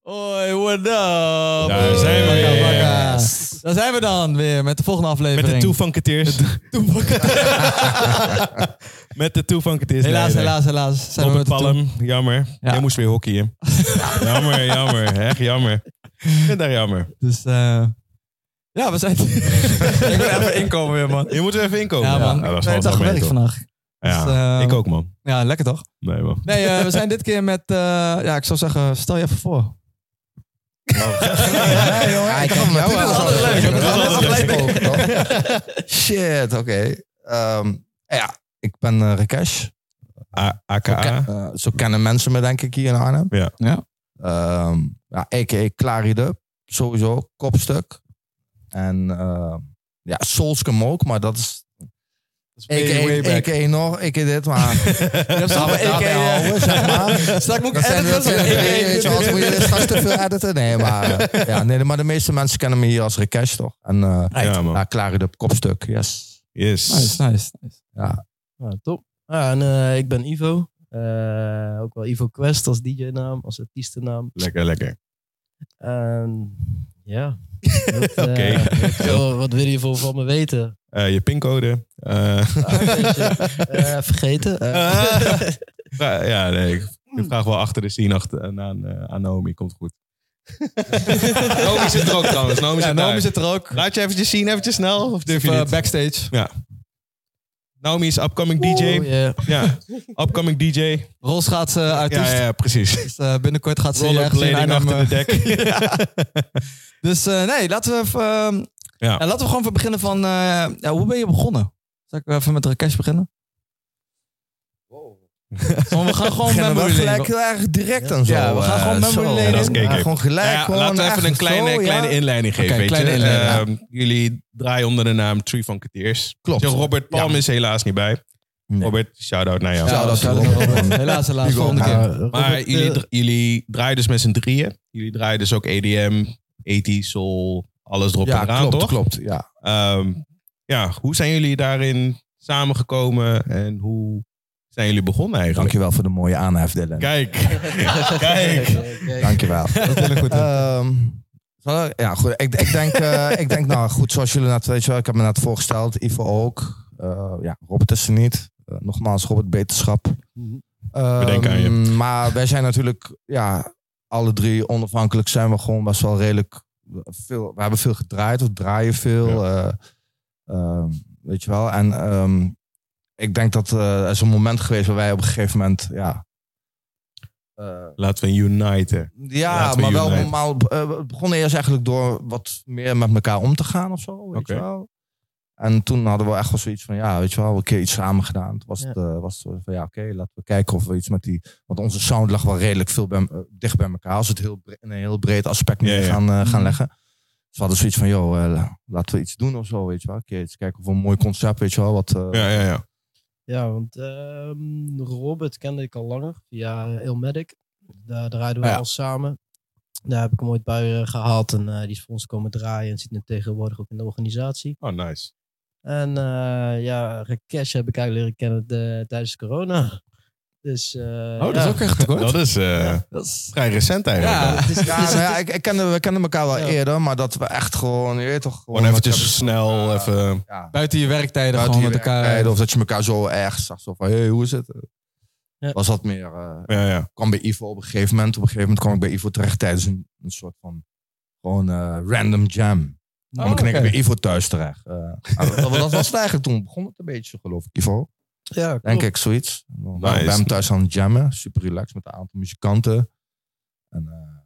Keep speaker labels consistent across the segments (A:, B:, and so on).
A: Hoi, what up? Daar
B: zijn we weer.
A: Daar zijn we dan weer met de volgende
B: Met de
A: aflevering.
B: Two Funketeers. Met de Two Funketeers.
A: helaas,
B: Nee, nee.
A: helaas, helaas. Zijn
B: Op
A: we
B: het
A: met de toe-
B: palm. Jammer.
A: Ja.
B: Jij moest weer hockeyen. jammer, jammer. Echt jammer. Ik vind dat jammer.
A: Dus eh, ja, we zijn... ik wil even inkomen weer, man.
B: Je moet er even inkomen.
A: Ja, man.
B: Oh, dat
A: ik
B: was
A: ben
B: wel
A: toch
B: een
A: gewerkt
B: moment,
A: vandaag.
B: hoor. Ja,
A: Dus, eh,
B: ik ook, man.
A: Ja, lekker toch?
B: Nee, man.
A: Nee, eh, we zijn dit keer met... eh, ja, ik zou zeggen, stel je even voor. Oh.
C: Ja, jongen.
D: Ah,
C: ik
D: ik
C: kan
D: kijk
C: jou
D: jou
C: wel.
D: aan.
C: Dat is altijd leuk.
B: Dat is altijd
C: Dat is
B: leuk.
C: altijd leuk. toch? Shit, oké. Ehm, Ja, ik ben eh, Rakesh.
B: A-
C: Zo
B: AKA.
C: ken- eh, Zo kennen mensen me denk ik hier in Arnhem.
B: Ja.
A: Ja.
C: Ehm, ja, a.k.a. Clary Dub. Sowieso, kopstuk. En ehm, ja, Solskum ook, maar dat is... A.k.a. a.k.a. nog, a.k.a. dit, maar...
A: hebt zo'n
C: Daarbij
A: a.k.a.,
C: houden, zeg maar.
A: eh, Straks moet ik
C: Dat zijn
A: editen.
C: we-
A: zo'n a.k.a.
C: weet je wel, als moet je straks te veel editen. Nee, maar, eh, ja, nee, maar de meeste mensen kennen me hier als Rekesh, toch? En eh
B: Ja, man.
C: ja, klaar de kopstuk, yes.
B: Yes.
A: Nice, nice. nice.
D: Ja, Nou, top. Ja, en eh, ik ben Ivo. Eh, ook wel Ivo Quest als DJ-naam, als artiestennaam.
B: Lekker, lekker.
D: En ja. Oké.
B: Oké.
D: wat wil je voor van me weten?
B: Eh, je pincode. Eh,
D: Ah, weet je, eh, vergeten.
B: Ah,
D: Eh,
B: ja, ja, nee. Ik
C: Hmm.
B: ik vraag wel achter de scene achter, aan, eh, aan Naomi. Komt goed. Naomi zit er ook trouwens. Naomi
A: Ja,
B: zit
A: Naomi
B: daar.
A: zit er ook.
B: Laat je eventjes zien, eventjes snel. Of durf je
A: Eh,
B: niet?
A: backstage.
B: Naomi is upcoming DJ.
D: oh, yeah.
B: Ja, upcoming DJ.
A: Rolschaatsen, eh, artiest.
B: Ja, ja, precies.
A: Dus, eh, binnenkort gaat ze je ergens in
B: Rollerblading
A: Arnhem,
B: achter de
A: eh,
B: dek.
A: Dus eh, nee, laten we, even, eh,
B: Ja.
A: ja, laten we gewoon van beginnen van... eh, ja, hoe ben je begonnen? Zal ik even met Rakesh beginnen? Wow. We gaan gewoon eh,
C: Beginnen
A: memory
C: we gelijk
A: lane.
C: heel erg direct en zo.
A: Ja, we gaan
C: eh,
A: gewoon memory
C: zo.
A: lane
C: Ja,
B: in.
C: we gaan gewoon gelijk.
B: Nou ja,
C: gewoon
B: laten we even een
C: ergens
B: kleine,
C: zo, ja.
B: kleine inleiding geven.
A: Oké,
B: weet
A: kleine
B: je.
A: inleiding,
B: Ehm, jullie draaien onder de naam Tree Funketeers.
C: Klopt.
B: Klopt. Robert Palm is helaas niet bij.
C: Nee.
B: Robert, shout-out naar jou.
A: Ja,
C: Shout-out
A: shout-out
C: to
A: naar
C: Robert.
A: Robert. Helaas, helaas.
C: Hugo,
A: Volgende
C: nou,
A: keer.
D: Robert,
B: Maar
D: eh,
B: jullie, dra- jullie draaien dus met z'n drieën. Jullie draaien dus ook EDM, 80 E soul, alles erop
C: Ja,
B: en eraan,
C: klopt,
B: toch?
C: klopt. Ja.
B: Ehm, ja, hoe zijn jullie daarin samengekomen en hoe zijn jullie begonnen eigenlijk?
C: Dankjewel voor de mooie aanhef, Dylan.
B: Kijk, kijk.
D: kijk.
C: Dankjewel.
A: Dat wil ik goed doen.
C: Ehm, zal ik- ja, goed. Ik, ik, denk, eh, ik denk, nou goed, zoals jullie net, weet je wel, ik heb me net voorgesteld. Ivo ook. Eh, ja, Robert is er niet. Eh, nogmaals, Robert, beterschap.
D: Mhm.
C: Ehm,
B: denken aan je.
C: Maar wij zijn natuurlijk, ja, alle drie onafhankelijk zijn we gewoon best wel redelijk veel. We hebben veel gedraaid, we draaien veel. eh, ehm, weet je wel. En ehm, ik denk dat eh, er is een moment geweest waar wij op een gegeven moment, ja. eh,
B: Laten we uniten.
C: ja,
B: Laten we
C: maar wel
B: unite.
C: normaal. eh, we begonnen eerst eigenlijk door wat meer met elkaar om te gaan of zo. Weet
B: Oké.
C: je wel. En toen hadden we echt wel zoiets van, ja, weet je wel, een keer iets samen gedaan. Toen was
D: Ja.
C: het eh, was het van, ja, oké, laten we kijken of we iets met die... Want onze sound lag wel redelijk veel bij, eh, dicht bij elkaar. Als we het heel bre- in een heel breed aspect neer
B: Ja, ja.
C: gaan, eh, gaan leggen. Dus we hadden zoiets van, joh, eh, la- laten we iets doen of zo, weet je wel. Oké, eens kijken of we een mooi concept, weet je wel, wat... eh,
B: Ja, ja, ja.
D: Ja, want ehm, Robert kende ik al langer via Ilmatic. Daar draaiden we
B: Ah,
C: Ja.
D: al samen. Daar heb ik hem ooit bij eh, gehaald en eh, die is voor ons komen draaien en zit nu tegenwoordig ook in de organisatie.
B: Oh, nice.
D: En eh, ja, Rakesh heb ik eigenlijk leren kennen eh, tijdens corona. Dus, eh,
A: Oh, dat
D: ja.
A: is ook echt kort.
B: Dat is eh,
A: Dat is-
B: vrij recent eigenlijk.
A: Ja.
D: Het is- het
C: Ja,
D: is-
C: nou ja, ik, ik kende, we kenden elkaar wel
D: Ja.
C: eerder, maar dat we echt gewoon, je weet toch...
A: Oh,
B: Gewoon eventjes snel,
C: eh,
B: even...
C: Ja,
A: Buiten je werktijden
C: Buiten
A: gewoon met
C: je
A: elkaar. eh,
C: werktijden, eh, Of dat je elkaar zo erg zag. Zo van, hey, hoe is het?
D: Ja.
C: Was dat meer... eh
B: Ja, ja.
C: kwam bij Ivo op een gegeven moment. Op een gegeven moment kwam ik bij Ivo terecht tijdens een, een soort van... Gewoon eh, random jam.
A: Oh,
C: Dan kwam ik
A: oké.
C: bij Ivo thuis terecht. Eh, nou, dat, dat was het eigenlijk toen. Begon het een beetje, geloof ik, Ivo.
D: ja, klopt.
C: Denk ik, zoiets. Dan waren we
B: Nice.
C: bij hem thuis aan het jammen. Super relaxed met een aantal muzikanten. En, eh,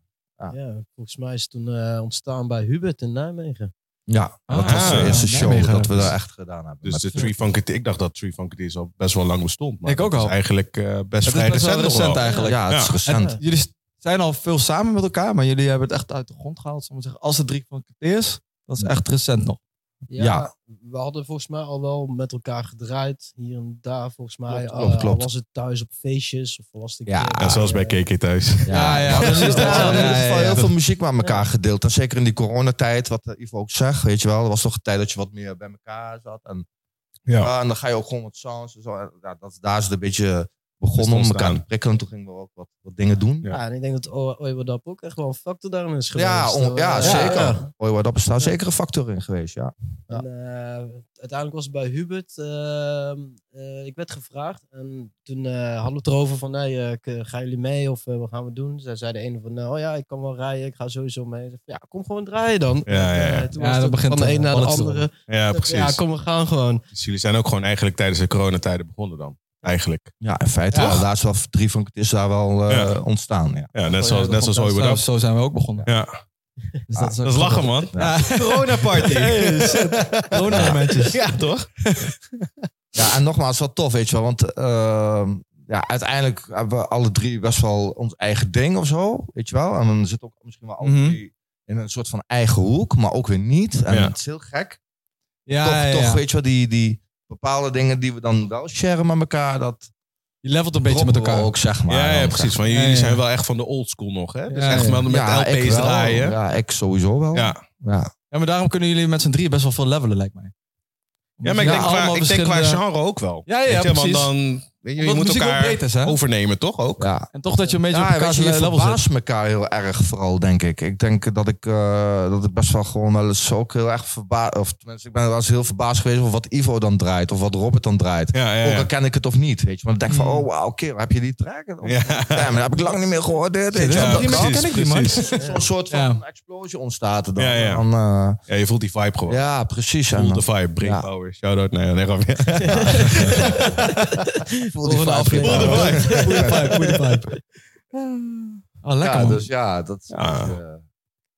D: Ja, volgens mij is het toen eh, ontstaan bij Hubert in Nijmegen.
C: ja, dat
A: Ah,
C: was de eerste
A: ja,
C: show
A: Nijmegen.
C: dat we daar echt gedaan hebben.
B: Dus
C: Met-
B: de Tree Funketeers... Ik dacht dat Tree Funketeers al best wel lang bestond. Maar
A: Ik ook
B: dat is
A: al.
B: eigenlijk eh, best
A: Het
B: vrij
A: is best wel
B: recent, nog
A: recent
B: wel.
A: eigenlijk.
C: Ja, het is
B: Ja.
C: recent.
D: Ja.
A: Jullie zijn al veel samen met elkaar, maar jullie hebben het echt uit de grond gehaald. zal ik maar zeggen. Als het drie van is, dat is echt recent nog.
D: Ja,
C: Ja.
D: we hadden volgens mij al wel met elkaar gedraaid. Hier en daar volgens mij.
C: Klopt,
D: al-
C: klopt,
D: al
C: klopt.
D: was het thuis op feestjes of was het een
C: Ja.
D: keer,
B: Ah, Ja, zelfs bij
D: eh,
B: KK thuis.
A: Ja, ja,
C: Maar
A: precies.
C: er is
A: Ja,
C: wel in ieder
A: ja,
C: geval
A: ja,
C: heel
A: ja.
C: veel muziek met elkaar gedeeld. En zeker in die coronatijd, wat eh, Ivo ook zegt, weet je wel. Er was toch een tijd dat je wat meer bij elkaar zat. En,
B: Ja.
C: Ah, en dan ga je ook gewoon wat sounds en zo. En, ja, dat, daar is het een beetje begonnen
B: het
C: om elkaar
B: ontstaan.
C: te prikkelen. Toen gingen we ook wat, wat dingen doen.
B: Ja.
C: Ja,
D: Ja, en ik denk dat O- Oiwadap ook echt wel een factor daarin is geweest.
C: ja, on- ja,
D: Eh,
C: zeker.
D: ja.
C: Hoi, wat dat is daar zeker een factor in geweest, ja.
D: En, eh, uiteindelijk was het bij Hubert. ehm, eh, ik werd gevraagd. En toen eh, hadden we het erover van, hey, eh, k- gaan jullie mee of eh, wat gaan we doen? Zij zei de ene van, nou ja, ik kan wel rijden. Ik ga sowieso mee. Ik zei, ja, kom gewoon draaien dan.
B: Ja, ja, ja.
D: Eh, toen
E: Ja,
D: was
E: dan
D: het
E: begint
D: van de
E: het,
D: een naar de
E: eh, alles te
D: andere.
B: Ja,
D: Ik zei,
B: precies.
D: Ja, kom, we gaan gewoon.
B: Dus jullie zijn ook gewoon eigenlijk tijdens de coronatijden begonnen dan. Eigenlijk.
C: Ja, in feite
E: Ja.
C: wel. Daar is wel drie van het is daar wel eh,
B: Ja.
C: ontstaan. Ja.
B: Ja, net zoals, net zoals Hoi
A: zo,
B: What Up.
A: zo zijn we ook begonnen.
B: Ja,
E: Dus
C: Ah,
E: is ook
B: dat is lachen,
E: grappig.
B: man.
E: Ja.
B: Corona-party.
A: Corona-momentjes.
B: Ja, toch?
C: ja, en nogmaals, wel tof, weet je wel. Want eh, ja, uiteindelijk hebben we alle drie best wel ons eigen ding of zo, weet je wel. En dan zitten ook misschien wel alle
A: Mhm.
C: drie in een soort van eigen hoek, maar ook weer niet. En
B: Ja.
C: het is heel gek.
E: Ja,
C: toch,
E: ja,
C: toch,
E: ja.
C: weet je wel, die, die bepaalde dingen die we dan wel sharen met elkaar, dat
E: Je levelt een beetje met
C: droppen we
E: elkaar.
C: ook, zeg maar.
B: Ja, ja
C: dan,
B: precies.
C: zeg maar.
B: Van jullie
E: Ja, ja.
B: zijn wel echt van de old school nog, hè? Dus
E: Ja,
B: echt
E: ja.
B: wel met
C: Ja, ik
B: LP's
C: wel.
B: draaien. Ja.
C: Ja, ik sowieso wel. Ja.
B: Ja.
A: Ja, maar daarom kunnen jullie met z'n drieën best wel veel levelen, lijkt mij.
B: maar ik denk, qua,
A: allemaal
B: ik denk qua
A: verschillende-
B: genre ook wel.
A: Ja, ja,
B: Weet je, want
A: precies.
B: dan, weet je, je
A: Omdat
B: moet
A: muziek ook
B: elkaar
A: breed is, hè?
B: overnemen, toch ook?
C: ja.
A: En toch dat je een beetje op
C: Ja,
A: elkaar
C: weet je, je
A: zijn level zit.
C: verbaast elkaar heel erg vooral, denk ik. Ik denk dat ik, eh, dat ik best wel gewoon wel eens ook heel erg verbaasd... Of tenminste, ik ben wel eens heel verbaasd geweest over wat Ivo dan draait. Of wat Robert dan draait.
B: Ja, ja,
C: Ook
B: ja.
C: al ken ik het of niet, weet je. Maar dan denk ik van,
A: Hmm.
C: oh wauw, kerel, heb je die track? Of-
B: Ja.
C: Ja, maar dat heb ik lang niet meer gehoord. Dit, weet je.
A: Ja,
C: wel.
A: die
C: Dat
A: mensen ken
C: kan.
A: ik niet, man.
B: precies.
C: Zo'n soort van
A: Ja.
C: explosie ontstaat er dan.
B: Ja, ja.
C: Dan, eh,
B: Ja, je voelt die vibe gewoon.
C: ja, precies.
B: Voel
C: En
B: de
C: dan
B: vibe, Brain
C: Ja.
B: Power, shout-out. Nee, nee, grapje.
C: voel die vibe. eh,
B: Voel de
C: Ja,
B: vibe.
E: Goeie vibe, goeie vibe.
A: Oh, lekker
C: Ja,
A: man.
C: dus ja, dat is
B: Ja.
C: eh,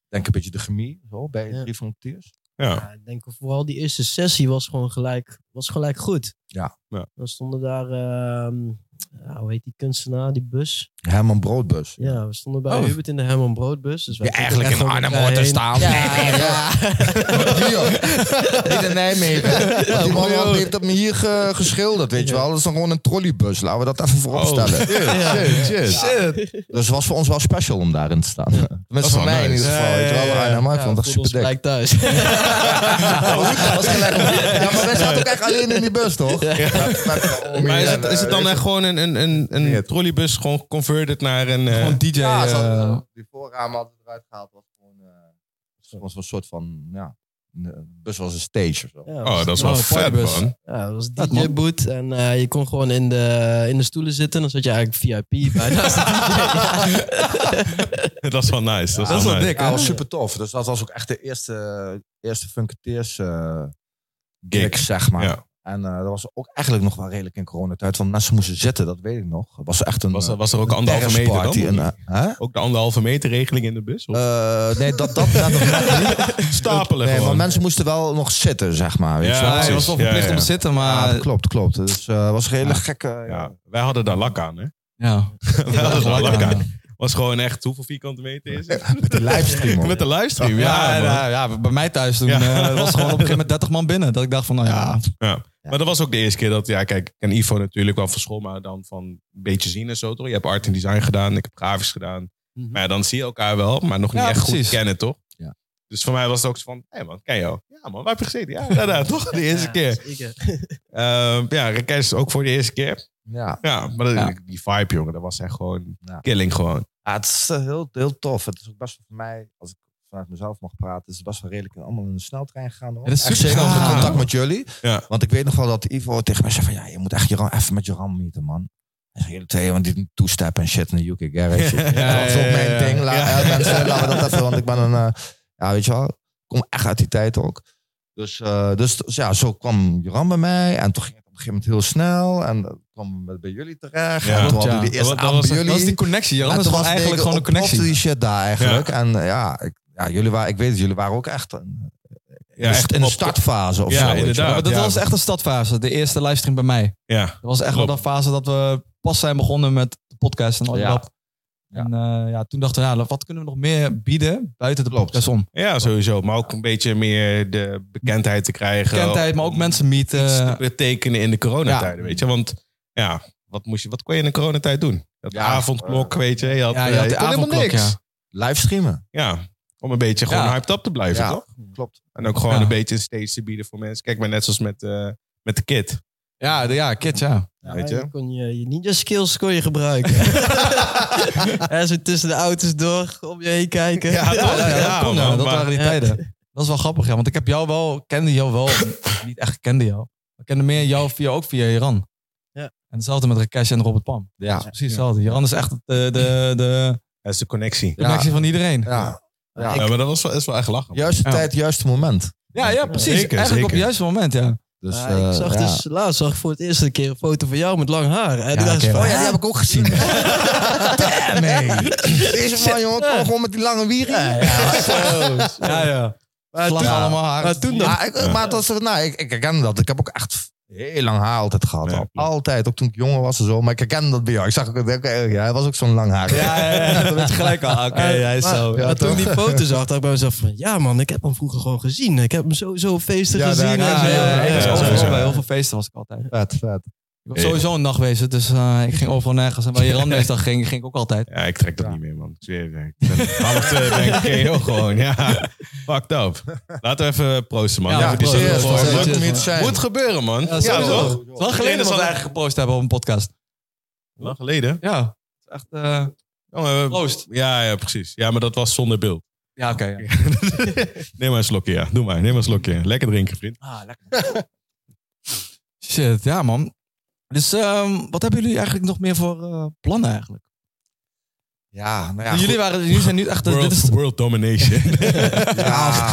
C: denk een beetje de chemie zo, bij
D: Ja.
C: drie frontiers.
B: Ja,
D: Ja, ik denk vooral die eerste sessie was gewoon gelijk, was gelijk goed.
C: Ja.
B: Ja.
D: Dan stonden daar, ehm, ja, hoe heet die kunstenaar, die bus?
C: Herman Broodbus.
D: Ja, we stonden bij
A: Oh.
D: Hubert in de Herman Broodbus. Dus wij
C: Ja,
D: gingen
C: eigenlijk
D: echt
C: in
D: gewoon
C: Arnhem
D: elkaar
C: hoort te
D: heen.
C: staan.
D: Ja, ja.
C: Hier. Niet in Nijmegen. Want die man had- heeft dat me hier ge- geschilderd, weet je wel. Dat is dan gewoon een trolleybus. Laten we dat even voorop
B: Oh,
C: stellen.
B: shit, shit.
C: Dus het was voor ons wel special om daarin te staan. Met
B: is
C: voor
B: wel
C: mij in
B: nice.
C: ieder geval.
A: Ja,
C: Weet je wel,
A: ja, ja.
C: Arnhem, maar ik
D: Ja,
C: vond het echt
D: voelde ons
C: super dik.
D: gelijk thuis.
C: Dat was gelijk. Ja, maar wij zaten ook echt alleen in die bus, toch? Met- met- om
B: Maar is
C: hier
B: het,
C: en,
B: is het
C: eh,
B: dan echt gewoon een, een, een, een trolleybus gewoon converted naar een... eh,
A: Gewoon DJ.
C: Ja, ze hadden-
A: eh,
C: die voorramen hadden we eruit gehaald. was gewoon eh, was een soort van, ja, een bus was een stage of zo.
D: Ja, nou,
B: oh, dat is wel
A: Oh, een
B: vet,
A: partybus.
B: man.
D: Ja, dat was
A: Dat, man.
D: DJ-boot. En eh, je kon gewoon in de, in de stoelen zitten. Dan zat je eigenlijk VIP bij naast de DJ.
B: Dat is wel nice. Dat is
A: dat is
B: wel
A: wel
B: nice.
A: dik,
C: Ja,
A: hè?
C: was super tof. Dus dat was ook echt de eerste, eerste Funketeers eh
B: Gig.
C: gig, zeg maar.
B: Ja.
C: En eh, dat was ook eigenlijk nog wel redelijk in coronatijd. Want mensen moesten zitten, dat weet ik nog. Het was echt een
B: Was, er-
C: eh,
B: was er ook anderhalve meter dan?
C: terrasparty. En, eh, hè?
B: Ook de anderhalve meter regeling in de bus? Of?
C: Eh, nee, dat, dat, dat nog niet.
B: Stapelen
C: Nee, maar
B: gewoon.
C: mensen moesten wel nog zitten, zeg maar. Weet
B: Ja,
C: je
A: ja,
C: wel?
A: hij
B: precies.
A: was wel verplicht
B: Ja, ja.
A: om te zitten,
C: Ja,
A: maar...
C: dat klopt, klopt. Dus eh, het was eh, een hele
A: Ja.
C: gekke... ja.
B: ja, wij hadden daar lak aan, hè?
A: Ja.
B: Wij hadden daar lak
A: Ja.
B: aan. Was gewoon echt, hoeveel vierkante meter is het?
C: De livestream.
B: Met de livestream,
A: Ja,
B: ja. man.
A: ja, ja, bij mij thuis toen
B: Ja.
A: eh, was het gewoon op een gegeven moment 30 man binnen. Dat ik dacht van, nou ja,
B: Maar dat was ook de eerste keer dat, ja, kijk, ik ken Ivo natuurlijk wel van school, maar dan van een beetje zien en zo, toch? Je hebt art en design gedaan, ik heb grafisch gedaan.
D: Mhm.
B: Maar ja, dan zie je elkaar wel, maar nog niet
A: Ja,
B: echt
A: precies.
B: goed kennen, toch?
C: Ja.
B: Dus voor mij was het ook zo van, hé man, ken jou? Ja man, waar heb je gezeten? Ja, ja, ja, toch? De eerste
D: Ja,
B: keer.
D: zeker.
B: Ehm, ja, Rekes ook voor de eerste keer.
C: Ja.
B: Ja, maar dat-
A: Ja.
B: die vibe, jongen, dat was echt gewoon
C: Ja.
B: killing gewoon.
C: Ja, het is eh, heel, heel tof. Het is ook best wel voor mij, als ik vanuit mezelf mag praten, is het best wel redelijk allemaal in de sneltrein gegaan. Hoor.
A: Ja, dat is
C: Echt
A: super
C: zeker
A: snel
C: ook in
A: gegaan,
C: contact
A: hoor.
C: met jullie.
B: Ja.
C: Want ik weet nog wel dat Ivo tegen mij zei van, ja, je moet echt Jeroen, even met Jeroen meeten, man. Hij zei, jullie twee, want die toestep en shit in de UK garage. dat is ook mijn
B: ja,
C: ding. La,
B: ja.
C: eh, mensen, laten we dat even, want ik ben een, eh, ja, weet je wel, ik kom echt uit die tijd ook. Dus, eh, dus, dus ja, zo kwam Jeroen bij mij en toen ging het op een gegeven moment heel snel en eh, kwam het bij jullie terecht.
B: Ja.
C: en toen
A: Klopt, ja.
C: hadden jullie de eerste
B: Dat was-
C: avond Ah, bij
B: dat
C: jullie.
A: dat is die connectie. Jan, dat is
C: En
A: gewoon
C: toen was
A: eigenlijk
C: het
A: gewoon een
C: ontplofte
A: connectie.
C: die shit daar eigenlijk. En eh, ja, ik, ja, jullie waren, ik weet het, jullie waren ook echt, eh,
B: Ja, echt
C: Dus in de
B: op-
C: startfase of
B: Ja,
C: zo. weet je
B: inderdaad.
C: wel.
A: Ja, maar Oh, dat
B: Ja.
A: was echt een stadfase. De eerste livestream bij mij.
B: Ja,
A: Dat was echt wel
B: Klopt.
A: de fase dat we pas zijn begonnen met de podcast en al
C: Ja.
A: dat. En eh, ja, toen dachten we, ja, wat kunnen we nog meer bieden buiten de
C: Klopt.
A: podcast om?
B: ja, sowieso. Maar ook een beetje meer de bekendheid te krijgen.
A: Bekendheid, maar ook mensen
B: Iets te
A: meeten.
B: betekenen in de coronatijden, weet je. Want ja, wat, moest je, wat kon je in de coronatijd doen? Dat
C: Ja,
B: avondklok, weet je. Je had,
A: Ja,
B: eh,
A: je had de
B: kon helemaal
A: avondklok,
B: niks.
A: ja.
C: Live streamen.
B: Ja, om een beetje gewoon
A: Ja.
B: hyped up te blijven,
C: Ja.
B: toch?
C: Klopt.
B: En ook gewoon
A: Ja.
B: een beetje een stage te bieden voor mensen. Kijk maar net zoals met, eh, met de kid.
A: Ja, de- ja, kids, ja.
B: Weet je?
D: eigenlijk kon je je ninja skills kon je gebruiken. en zo tussen de auto's door, om je heen kijken.
B: Ja, toch?
A: Ja, ja,
B: Ja,
A: dat, kon, ja,
B: man,
A: dat
B: maar-
A: waren die tijden. Dat is wel grappig, ja. Want ik heb jou wel, kende jou wel, niet echt kende jou. Ik kende meer jou via, ook via Iran.
D: Ja.
A: En hetzelfde met Rakesh en Robert Pam.
C: Ja.
A: Dat is precies hetzelfde. Iran is echt eh, de, de, de
B: Dat is de connectie.
A: de connectie van iedereen.
C: Ja. Ja.
B: Ja, maar dat was wel, is wel echt lachen. man.
C: Juiste
A: Ja.
C: tijd, juiste moment.
A: ja, ja, precies.
B: Zeker,
A: Eigenlijk
B: zeker.
A: op het juiste moment, ja.
C: Dus,
D: Maar
C: eh,
D: ik zag
C: ja.
D: dus laatst zag ik voor het eerst een keer een foto van jou met lang haar. En toen dacht ik
A: oké.
D: van,
C: Oh ja, die heb ik ook gezien. Damn, hey. Deze van, jongen, toch gewoon met die lange wieren.
A: Ja, ja.
D: Maar
A: Vlag
D: toen-
A: allemaal haar.
D: maar toen dacht
C: Maar, ik, maar het was er, nou, ik, ik herken dat. Ik heb ook echt heel lang haar altijd gehad.
B: Ja,
C: al.
B: klopt.
C: Altijd, ook toen ik jonger was en zo. Maar ik herken dat bij jou. Ik zag ook, dat- ja, hij was ook zo'n lang haar.
A: Ja, ja, ja. Dan weet je gelijk al. Oké, hij is zo.
D: maar
C: Ja,
D: toen
C: toch?
D: die foto zag, dacht ik bij mezelf van... Ja man, ik heb hem vroeger gewoon gezien. Ik heb hem sowieso op feesten
C: Ja, daar-
D: gezien. en
A: Ja,
D: zo.
A: ja, ja, ik was
B: Ja,
A: overal
B: sowieso.
A: bij heel veel feesten was ik altijd.
C: Vet, vet.
A: Ik was sowieso een nachtwezen, dus eh, ik ging overal nergens. En bij Iran meestal ging, ging ik ook altijd.
B: Ja, ik trek dat niet meer, man. Ik zweer het. Ik ben half twee ben ik KO gewoon. Ja, fucked up. Laten we even proosten, man.
A: Ja,
B: Even die
A: proost,
B: zon
A: proost,
B: voor-
A: proost.
B: Moet-
C: Leuk om hier te zijn.
B: Moet gebeuren, man. Ja,
A: sowieso.
B: toch?
A: Het is wel geleden dat we eigenlijk gepost hebben op een podcast.
B: Lang geleden.
A: Ja, het is echt... eh,
B: Jongen, we-
A: Proost.
B: Oh, Ja, ja, precies. Ja, maar dat was zonder beeld.
A: ja, oké. ja.
B: Neem maar een slokje, ja. Doe maar, neem maar een slokje. Lekker drinken, vriend.
A: Shit, ja man. Dus ehm, wat hebben jullie eigenlijk nog meer voor eh, plannen eigenlijk?
C: Ja, nou ja.
A: jullie,
C: goed.
A: waren, jullie zijn nu echt... dit is,
B: World, world domination.
C: Ja,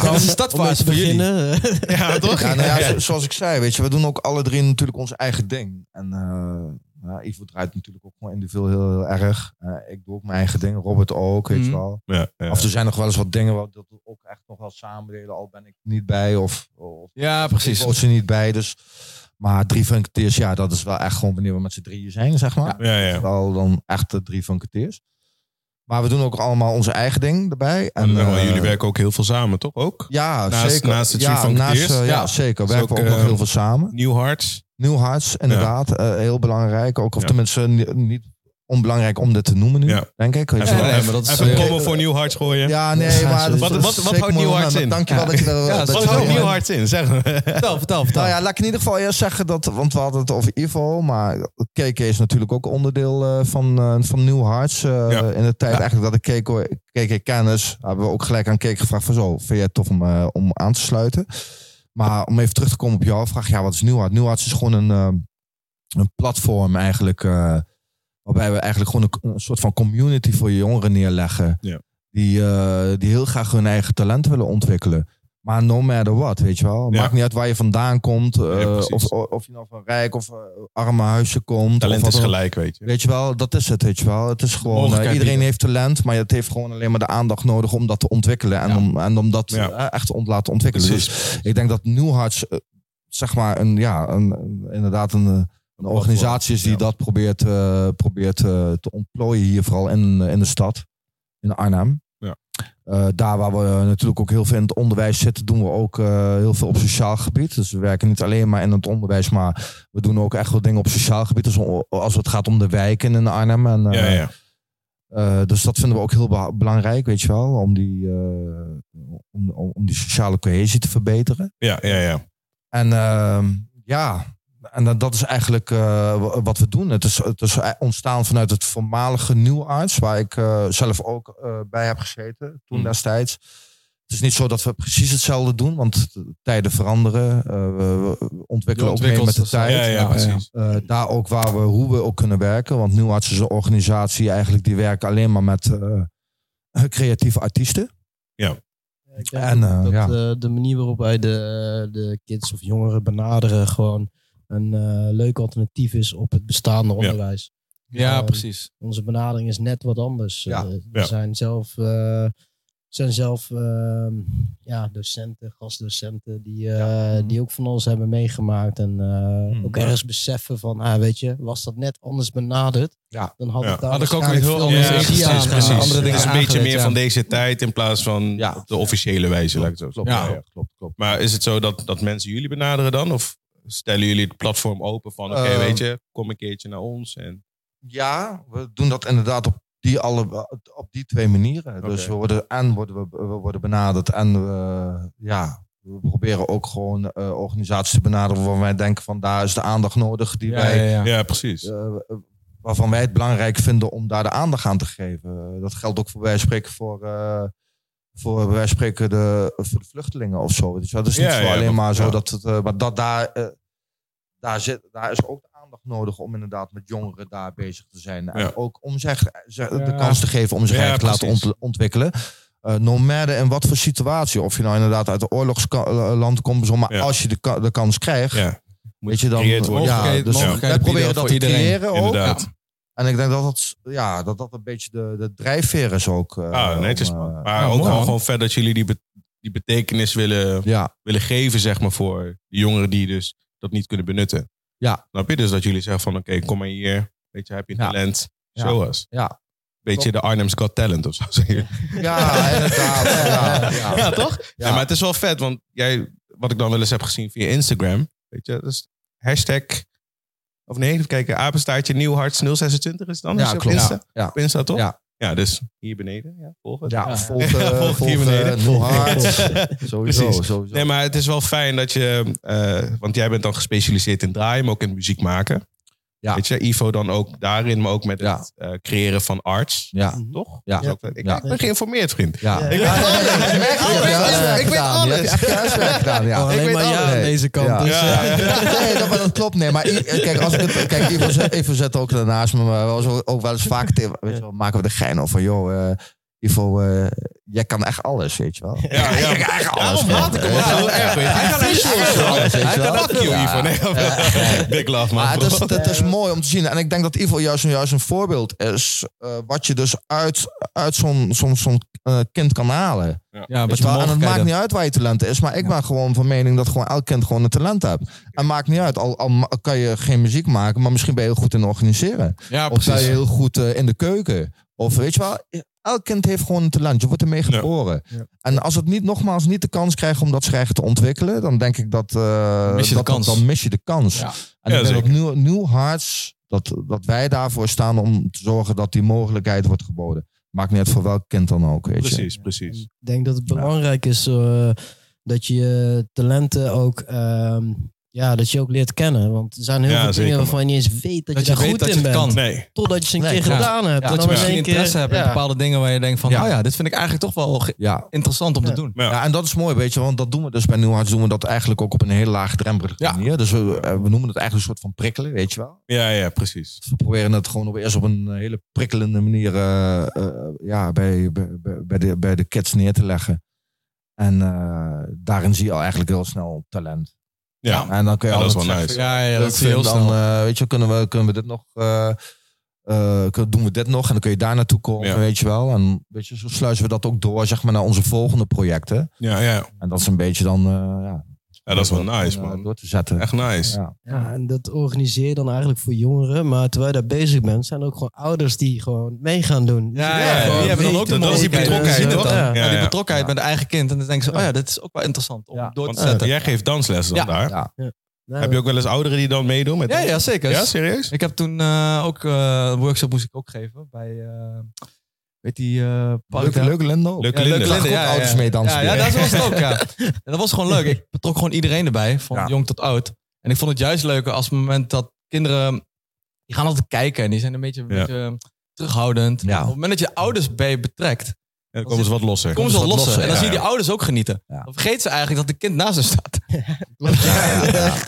A: dit is de
D: Om mee
A: startfase
D: te
A: voor jullie.
D: beginnen.
B: ja, toch?
C: Ja, nou ja, zo- zoals ik zei, weet je, we doen ook alle drie natuurlijk ons eigen ding. En eh ja, Ivo draait natuurlijk ook gewoon individueel heel, heel erg. Eh, ik doe ook mijn eigen ding, Robert ook, weet
A: Mhm.
C: je wel.
B: Ja, ja.
C: Of er zijn nog wel eens wat dingen waar dat we ook echt nog wel samen delen, al ben ik niet bij of, of
A: Ja, precies.
C: ik was er niet bij. Dus, maar drie funketeers, ja, dat is wel echt gewoon wanneer we met z'n drieën zijn, zeg maar.
B: ja, ja.
C: Wel dan echt de drie funketeers. Maar we doen ook allemaal onze eigen ding erbij.
B: En, eh,
C: eh,
B: jullie werken ook heel veel samen, toch? Ook?
C: ja,
B: naast-
C: zeker.
B: naast de drie
C: ja,
B: funketeers?
C: naast, eh, ja,
B: Ja.
C: zeker.
B: Is
C: Werken we
B: ook,
C: ook nog
B: eh,
C: heel veel samen.
B: New Hearts.
C: New Hearts, inderdaad. eh, heel belangrijk. Ook, of
B: Ja.
C: tenminste ni- niet onbelangrijk om dit te noemen nu,
B: Ja.
C: denk ik. Weet je
B: Even,
C: wel.
A: nee, maar dat is-
B: even
A: eh,
B: komen voor New Hearts gooien.
C: Ja, nee,
D: Ja,
C: maar...
D: zo is
B: Wat-
C: dat is
B: wat-
C: een
B: wat
C: zeker
B: houdt New
C: mooi
B: Hearts
C: moment.
B: in?
C: Dankjewel
A: Ja.
C: dat je dat...
A: Ja, wat
C: dat
B: Wat
A: houdt
C: je
B: houdt
C: dat-
B: New Hearts in? Zeg maar.
A: Vertel, vertel, vertel.
C: Nou ja, laat ik in ieder geval eerst zeggen dat, want we hadden het over Ivo, maar KK is natuurlijk ook onderdeel eh, van, eh, van New Hearts. eh,
B: Ja.
C: In de tijd eigenlijk dat ik KK, KK kennis, dus hebben we ook gelijk aan KK gevraagd van zo, vind jij het tof om, eh, om aan te sluiten? Maar om even terug te komen op jouw vraag, ja, wat is New Hearts? New Hearts is gewoon een, eh, een platform eigenlijk, eh, waarbij we eigenlijk gewoon een, een soort van community voor je jongeren neerleggen.
B: Ja.
C: Die, eh, die heel graag hun eigen talent willen ontwikkelen. Maar no matter what, weet je wel.
B: Ja.
C: Maakt niet uit waar je vandaan komt. eh,
B: Ja, precies.
C: of, of je nou van rijk of eh, arme huizen komt. of
B: Talent
C: wat
B: is
C: dan ook.
B: gelijk, weet je.
C: Weet je wel, dat is het, weet je wel. Het is gewoon, eh,
A: Mogelijkheid
C: iedereen
A: bieden.
C: heeft talent, maar het heeft gewoon alleen maar de aandacht nodig om dat te ontwikkelen. En,
A: Ja.
C: om, en om dat
B: Ja.
C: eh, echt te ont- laten ontwikkelen.
B: Precies.
C: Dus ik denk dat New Hearts, eh, zeg maar, een, ja, een, een- inderdaad een, eh, een organisatie is die
B: ja.
C: dat probeert, eh, probeert eh, te ontplooien hier vooral in, eh, in de stad, in Arnhem.
B: Ja.
C: Eh, daar waar we natuurlijk ook heel veel in het onderwijs zitten, doen we ook eh, heel veel op sociaal gebied. Dus we werken niet alleen maar in het onderwijs, maar we doen ook echt wel dingen op sociaal gebied. Dus o- als het gaat om de wijken in Arnhem. En, eh,
B: Ja, ja.
C: eh, dus dat vinden we ook heel bela- belangrijk, weet je wel, om die, eh, om, om, om die sociale cohesie te verbeteren.
B: Ja, ja, ja.
C: En ehm, ja, en dat- dat is eigenlijk eh, wa- wat we doen. Het is, het is e- ontstaan vanuit het voormalige nieuwarts, waar ik eh, zelf ook eh, bij heb gezeten toen
B: Mm.
C: destijds. Het is niet zo dat we precies hetzelfde doen, want de tijden veranderen. eh, we- we ontwikkelen ook mee
A: ontwikkelt
C: met de
A: zichzelf.
C: tijd.
B: Ja, ja,
A: ja,
B: precies.
C: Eh, daar ook waar we, hoe we ook kunnen werken. Want Nieuwarts is een organisatie eigenlijk die werkt alleen maar met eh, creatieve artiesten.
D: Ik denk
C: En, eh,
D: dat
C: ja.
D: eh, de manier waarop wij de, eh, de kids of jongeren benaderen gewoon een eh, leuk alternatief is op het bestaande onderwijs.
A: Ja,
D: Ehm,
A: precies.
D: Onze benadering is net wat anders.
C: Ja.
D: Eh, we
B: Ja.
D: zijn zelf, eh, zijn zelf ehm, ja, docenten, gastdocenten, die, eh, die ook van ons hebben meegemaakt. En eh,
C: Mm.
D: ook ergens beseffen van, ah, weet je, was dat net anders benaderd,
C: Ja.
D: dan had
B: Ja.
D: ik daar
A: Had ik ook weer
D: waarschijnlijk
A: heel
D: veel
A: anders
D: energie
A: ingezien.
D: aan,
A: Precies,
D: eh,
A: precies.
D: Andere
B: Het
A: Ja.
D: dingen
B: is een
A: aangeleerd,
B: beetje meer
A: ja.
B: van deze tijd in plaats van
C: Ja.
B: op de officiële wijze. Lijkt het zo.
C: Klopt,
A: Ja.
C: ja, klopt, klopt.
B: Maar is het zo dat, dat mensen jullie benaderen dan? Of stellen jullie het platform open van, oké,
C: Eh,
B: weet je, kom een keertje naar ons. En,
C: Ja, we doen dat inderdaad op die, alle, op die twee manieren. Dus we worden en worden we, we worden benaderd en we, ja, We proberen ook gewoon eh, organisaties te benaderen waarvan wij denken van daar is de aandacht nodig die
E: Ja,
C: wij,
E: ja, ja.
B: Ja, precies.
C: eh, waarvan wij het belangrijk vinden om daar de aandacht aan te geven. Dat geldt ook voor wij spreken voor, eh, voor wij spreken de, voor de vluchtelingen of zo. Dus dat is niet
B: Ja,
C: zo
B: ja,
C: alleen
B: dat-
C: maar zo
B: ja.
C: dat het, eh, maar dat daar, eh, daar, zit, daar is ook de aandacht nodig om inderdaad met jongeren daar bezig te zijn.
B: Ja.
C: En ook om zich, ze- de
E: Ja.
C: kans te geven om zich
B: Ja,
C: eigenlijk te
B: precies.
C: laten ont- ontwikkelen. Eh no matter in wat voor situatie. Of je nou inderdaad uit een oorlogsland komt. zo, Maar
B: Ja.
C: als je de, ka- de kans krijgt.
B: Ja.
C: Weet je dan.
B: gecreëerd worden.
C: Ja,
E: Mogelijkheden-
C: dus
E: mogelijkheden
C: wij proberen
E: bieden
C: dat
E: voor
C: te
E: iedereen.
C: creëren ook.
B: Inderdaad.
C: En ik denk dat dat, ja, dat, dat een beetje de, de drijfveer is ook. eh,
B: Ah, netjes
C: om,
B: man.
C: eh,
B: Maar
E: ja,
B: ook
E: mooi,
B: wel
E: man.
B: gewoon vet dat jullie die, be- die betekenis willen,
C: ja,
B: willen geven, zeg maar, voor de jongeren die dus dat niet kunnen benutten.
C: Ja.
B: Snap je? Dus dat jullie zeggen van, oké, kom maar hier. Weet je, heb je een
C: Ja.
B: talent?
C: Ja.
B: Show us.
C: Ja.
B: Weet je, de Arnhem's Got Talent of zo. zeg je.
C: ja, inderdaad. ja, ja.
B: Ja, toch? Ja.
C: Ja.
B: maar het is wel vet, want jij, wat ik dan wel eens heb gezien via Instagram, weet je, dat is hashtag, of nee, even kijken, apenstaartje Nieuwharts 026 is het dan?
C: Ja,
B: Is het op
C: klopt.
B: Insta?
C: Ja, ja.
B: Op Insta, toch?
C: Ja.
B: Ja, dus hier beneden, ja, volg het.
C: Ja,
D: Ja.
C: volg, eh, volg,
B: hier
C: eh,
B: beneden.
C: Nul Hart. Sowieso,
B: Precies.
C: sowieso.
B: Nee, maar het is wel fijn dat je, eh, want jij bent dan gespecialiseerd in draaien, maar ook in muziek maken.
C: Ja.
B: Weet je, Ivo dan ook daarin, maar ook met
C: Ja.
B: het eh, creëren van arts.
C: Ja,
B: Toch?
C: Ja.
B: Dat is ook vet. Ik,
C: Ja.
B: ik ben geïnformeerd, vriend.
C: ja.
D: Ja.
B: Ik weet
D: Ja,
B: alles.
C: ja, ja,
B: Ik weet
C: ja, ja, ja,
B: alles. Ik weet
C: ja, gedaan. Je hebt
B: alles.
C: echt je huiswerk gedaan,
E: Oh,
C: ja. Ik
E: alleen
C: weet
E: maar ja
C: alles.
E: aan deze kant.
C: Ja.
E: Dus,
B: Ja,
E: eh,
B: ja, ja.
C: Nee, dat, maar dat klopt. Nee, maar i- kijk, als ik het, kijk Ivo, zet, Ivo zet ook daarnaast me, maar was ook, ook wel eens vaak tegen, weet je wel, maken we de gein over, joh, eh, Ivo, eh, jij kan echt alles, weet je wel.
B: Ja, ja.
C: Jij kan echt alles.
B: Daarom haat ik hem ook
C: Ja.
B: zo erg, weet je. Hij kan echt
C: alles,
B: alles.
C: weet je
B: Hij kan
C: wel.
B: dat kill,
C: Ja.
B: Ivo. Nee,
C: Ja.
B: Big love, man.
C: Maar het is,
B: bro.
C: het is mooi om te zien. En ik denk dat Ivo juist, een- juist een voorbeeld is. eh, wat je dus uit, uit zo'n zo'n zo'n eh, kind kan halen.
E: ja,
C: Weet
E: met
C: je
E: de
C: Dus wel? En het maakt
E: mogelijkheden.
C: niet uit waar je talent is. Maar ik ben gewoon van mening dat gewoon elk kind gewoon een talent hebt. En maakt niet uit. Al, al ma- kan je geen muziek maken. Maar misschien ben je heel goed in organiseren.
E: Ja,
C: Of ben je
E: precies.
C: heel goed eh, in de keuken. Of weet je wel. eh, Elk kind heeft gewoon een talent. Je wordt ermee geboren.
E: Ja.
C: En als het niet, nogmaals niet de kans krijgt om dat zich eigen te ontwikkelen. Dan denk ik dat... eh,
E: Mis je de
C: dat-
E: kans.
C: Dan mis je de kans.
E: Ja.
C: En
B: Ja,
C: ik ben
B: zeker.
C: ook nieuw, nieuw harts dat, dat wij daarvoor staan om te zorgen dat die mogelijkheid wordt geboden. Maakt niet uit voor welk kind dan ook, weet je.
B: Precies, precies.
D: Ik denk dat het belangrijk is eh, dat je je talenten ook, ehm, ja, dat je ook leert kennen. Want er zijn heel
B: Ja,
D: veel
B: zeker,
D: dingen
B: man.
D: waarvan je niet eens weet dat,
E: Dat
D: je
E: je
D: daar
E: weet
D: goed
E: dat
D: in
E: je het
D: bent.
E: kan.
B: Nee.
D: Totdat je ze een
C: Nee,
D: keer
E: ja.
D: gedaan hebt.
E: Ja,
D: En
E: dat
D: dan
E: je
D: in
E: misschien
D: één keer-
E: interesse hebt in
D: ja.
E: bepaalde dingen waar je denkt van,
C: Ja.
E: oh ja, dit vind ik eigenlijk toch wel ge-
C: Ja.
E: interessant om te
D: Ja.
E: doen.
B: Ja.
C: ja, en dat is mooi, weet je. Want dat doen we dus bij Nieuw Harts doen we dat eigenlijk ook op een heel laagdrempelige
E: Ja.
C: manier. Dus we, eh, we noemen het eigenlijk een soort van prikkelen, weet je wel.
B: Ja, ja, precies.
C: We proberen het gewoon op, eerst op een eh, hele prikkelende manier eh, eh, ja, bij, bij, bij, de, bij de kids neer te leggen. En eh, daarin zie je al eigenlijk heel snel talent.
B: Ja.
C: En dan kun je
B: Ja, dat is
C: altijd
B: wel
C: zeggen,
B: nice.
E: Ja, ja,
C: dat vind, dan, eh, weet je, wel, kunnen we, kunnen we dit nog, eh, eh, kun- doen we dit nog en dan kun je daar naartoe komen,
B: Ja.
C: weet je wel. En weet je, zo sluizen we dat ook door, zeg maar, naar onze volgende projecten.
B: Ja, ja.
C: En dat is een beetje dan, eh, ja,
B: Ja, dat is wel
C: eh,
B: nice, man.
C: door te zetten.
B: Echt nice.
C: Ja.
D: Ja, en dat organiseer je dan eigenlijk voor jongeren. Maar terwijl je daar bezig bent, zijn er ook gewoon ouders die gewoon mee gaan doen.
E: Ja,
B: ja,
E: ja,
B: gewoon
E: die hebben dan ook de
B: weten, man. Dat is die
E: mogelijkheden.
B: betrokkenheid,
E: Ze zien het
B: toch?
E: dan.
B: Ja,
E: Ja,
B: ja.
E: die betrokkenheid
C: Ja.
E: met de eigen kind. En dan denken ze, oh ja, dit is ook wel interessant om
C: Ja.
E: door te
B: Want
E: zetten.
B: jij geeft dansles dan
E: Ja.
B: daar.
C: Ja.
D: Ja,
B: Heb je ook wel eens ouderen die dan meedoen? Met
E: Ja, ja, zeker.
B: Ja, serieus?
E: Ik heb toen eh, ook eh, een workshop moest ik ook geven bij, eh, weet die, eh park
C: Leuke,
E: daar?
C: leuke Lindo. ook.
B: Leuke
E: Ja,
B: Linde.
E: Leuke Linde,
C: Ook
E: ja, ja.
C: ouders mee dansen.
E: Ja, ja, dat was het ook, ja. En dat was gewoon leuk. Ik betrok gewoon iedereen erbij, van
C: Ja.
E: jong tot oud. En ik vond het juist leuker als het moment dat kinderen... Die gaan altijd kijken en die zijn een beetje, een
B: Ja.
E: beetje eh, terughoudend.
C: Ja.
E: Op het moment dat je ouders bij betrekt,
B: Ja, dan komen ze wat losser.
E: komen ze
C: is
E: al
C: wat
E: lossen. En
C: losser,
E: dan
B: ja.
E: zie je die ouders ook genieten.
C: Ja.
E: Dan vergeet ze eigenlijk dat de kind naast ze staat.
B: Pak af,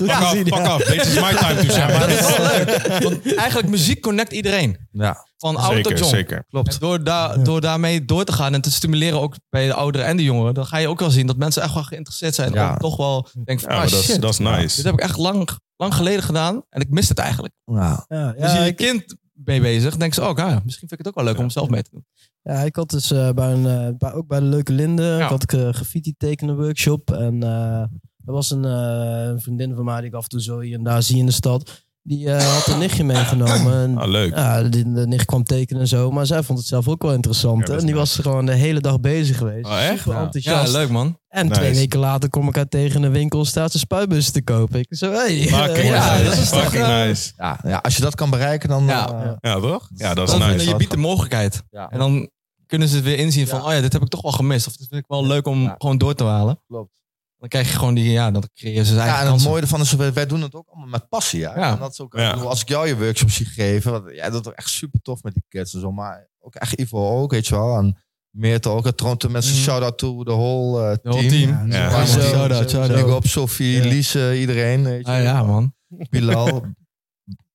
B: pak af. Dit is my time to shine.
E: Dat is wel leuk. Want eigenlijk muziek connect iedereen.
C: Ja.
E: Van oud tot
B: Zeker,
E: jong.
B: zeker.
E: En door, daar door daarmee door te gaan en te stimuleren ook bij de ouderen en de jongeren, dan ga je ook wel zien dat mensen echt wel geïnteresseerd zijn.
C: Ja.
E: En toch wel denken van,
B: Ja,
E: ah,
B: maar dat is-
E: shit,
B: dat is
E: dit
B: nice.
E: heb ik echt lang, lang geleden gedaan en ik mist het eigenlijk.
C: Ja.
D: Ja,
E: Dan zie
D: ja,
E: je je
D: ik,
E: kind mee bezig, dan denk ze, oh ja, misschien vind ik het ook wel leuk om zelf mee te doen.
D: ja, ik had dus eh, bij een, eh, bij, ook bij de Leuke Linde, ik had ik eh, graffiti tekenen workshop. En eh, er was een, eh, een vriendin van mij die ik af en toe zo hier en daar zie in de stad. Die eh, had een nichtje meegenomen. En
B: Ah, leuk.
D: Ja, de, de nicht kwam tekenen en zo. Maar zij vond het zelf ook wel
B: Ja,
D: interessant.
B: dat
D: en
B: is
D: die was er gewoon de hele dag bezig geweest.
B: Oh, echt?
D: Super
C: Ja.
E: Ja,
D: enthousiast.
E: leuk man.
D: En
B: Nice.
D: twee weken later kom ik haar tegen in een winkel. Staat ze spuitbussen te kopen. Ik zo, hey.
B: Fucking
D: ja,
B: nice.
D: dat is toch...
B: Fucking
D: eh,
B: nice.
C: Ja. ja, als je dat kan bereiken, dan...
E: Ja.
C: eh,
B: Ja, toch? Ja, dat is
E: Dan-
B: nice.
E: Je biedt de mogelijkheid.
C: Ja.
E: En dan kunnen ze het weer inzien van,
C: Ja.
E: oh ja, dit heb ik toch wel gemist. Of dit vind ik wel leuk om
C: Ja.
E: gewoon door te halen.
C: Klopt.
E: Dan krijg je gewoon die, ja, dan creëer ze zijn
C: Ja,
E: eigen
C: en het
E: kansen.
C: mooie ervan is, wij wij doen het ook allemaal met passie. Ja.
E: Ja.
C: En dat is ook,
B: Ja.
C: ik bedoel, als ik jou je workshop zie geven, wat, jij doet het echt super tof met die kids en zo. Maar ook echt Ivo ook, weet je wel. En Meerte ook. Het trouwens, mensen
E: Mhm.
C: shout-out to the whole eh,
E: De whole
C: team.
E: team.
B: Ja.
E: Ja, man.
C: Zo,
E: Shout-out,
D: zo,
E: shout-out.
C: Big up, Sophie,
E: Ja.
C: Lise, iedereen. Weet je,
E: Ah, ja, man.
C: Bilal.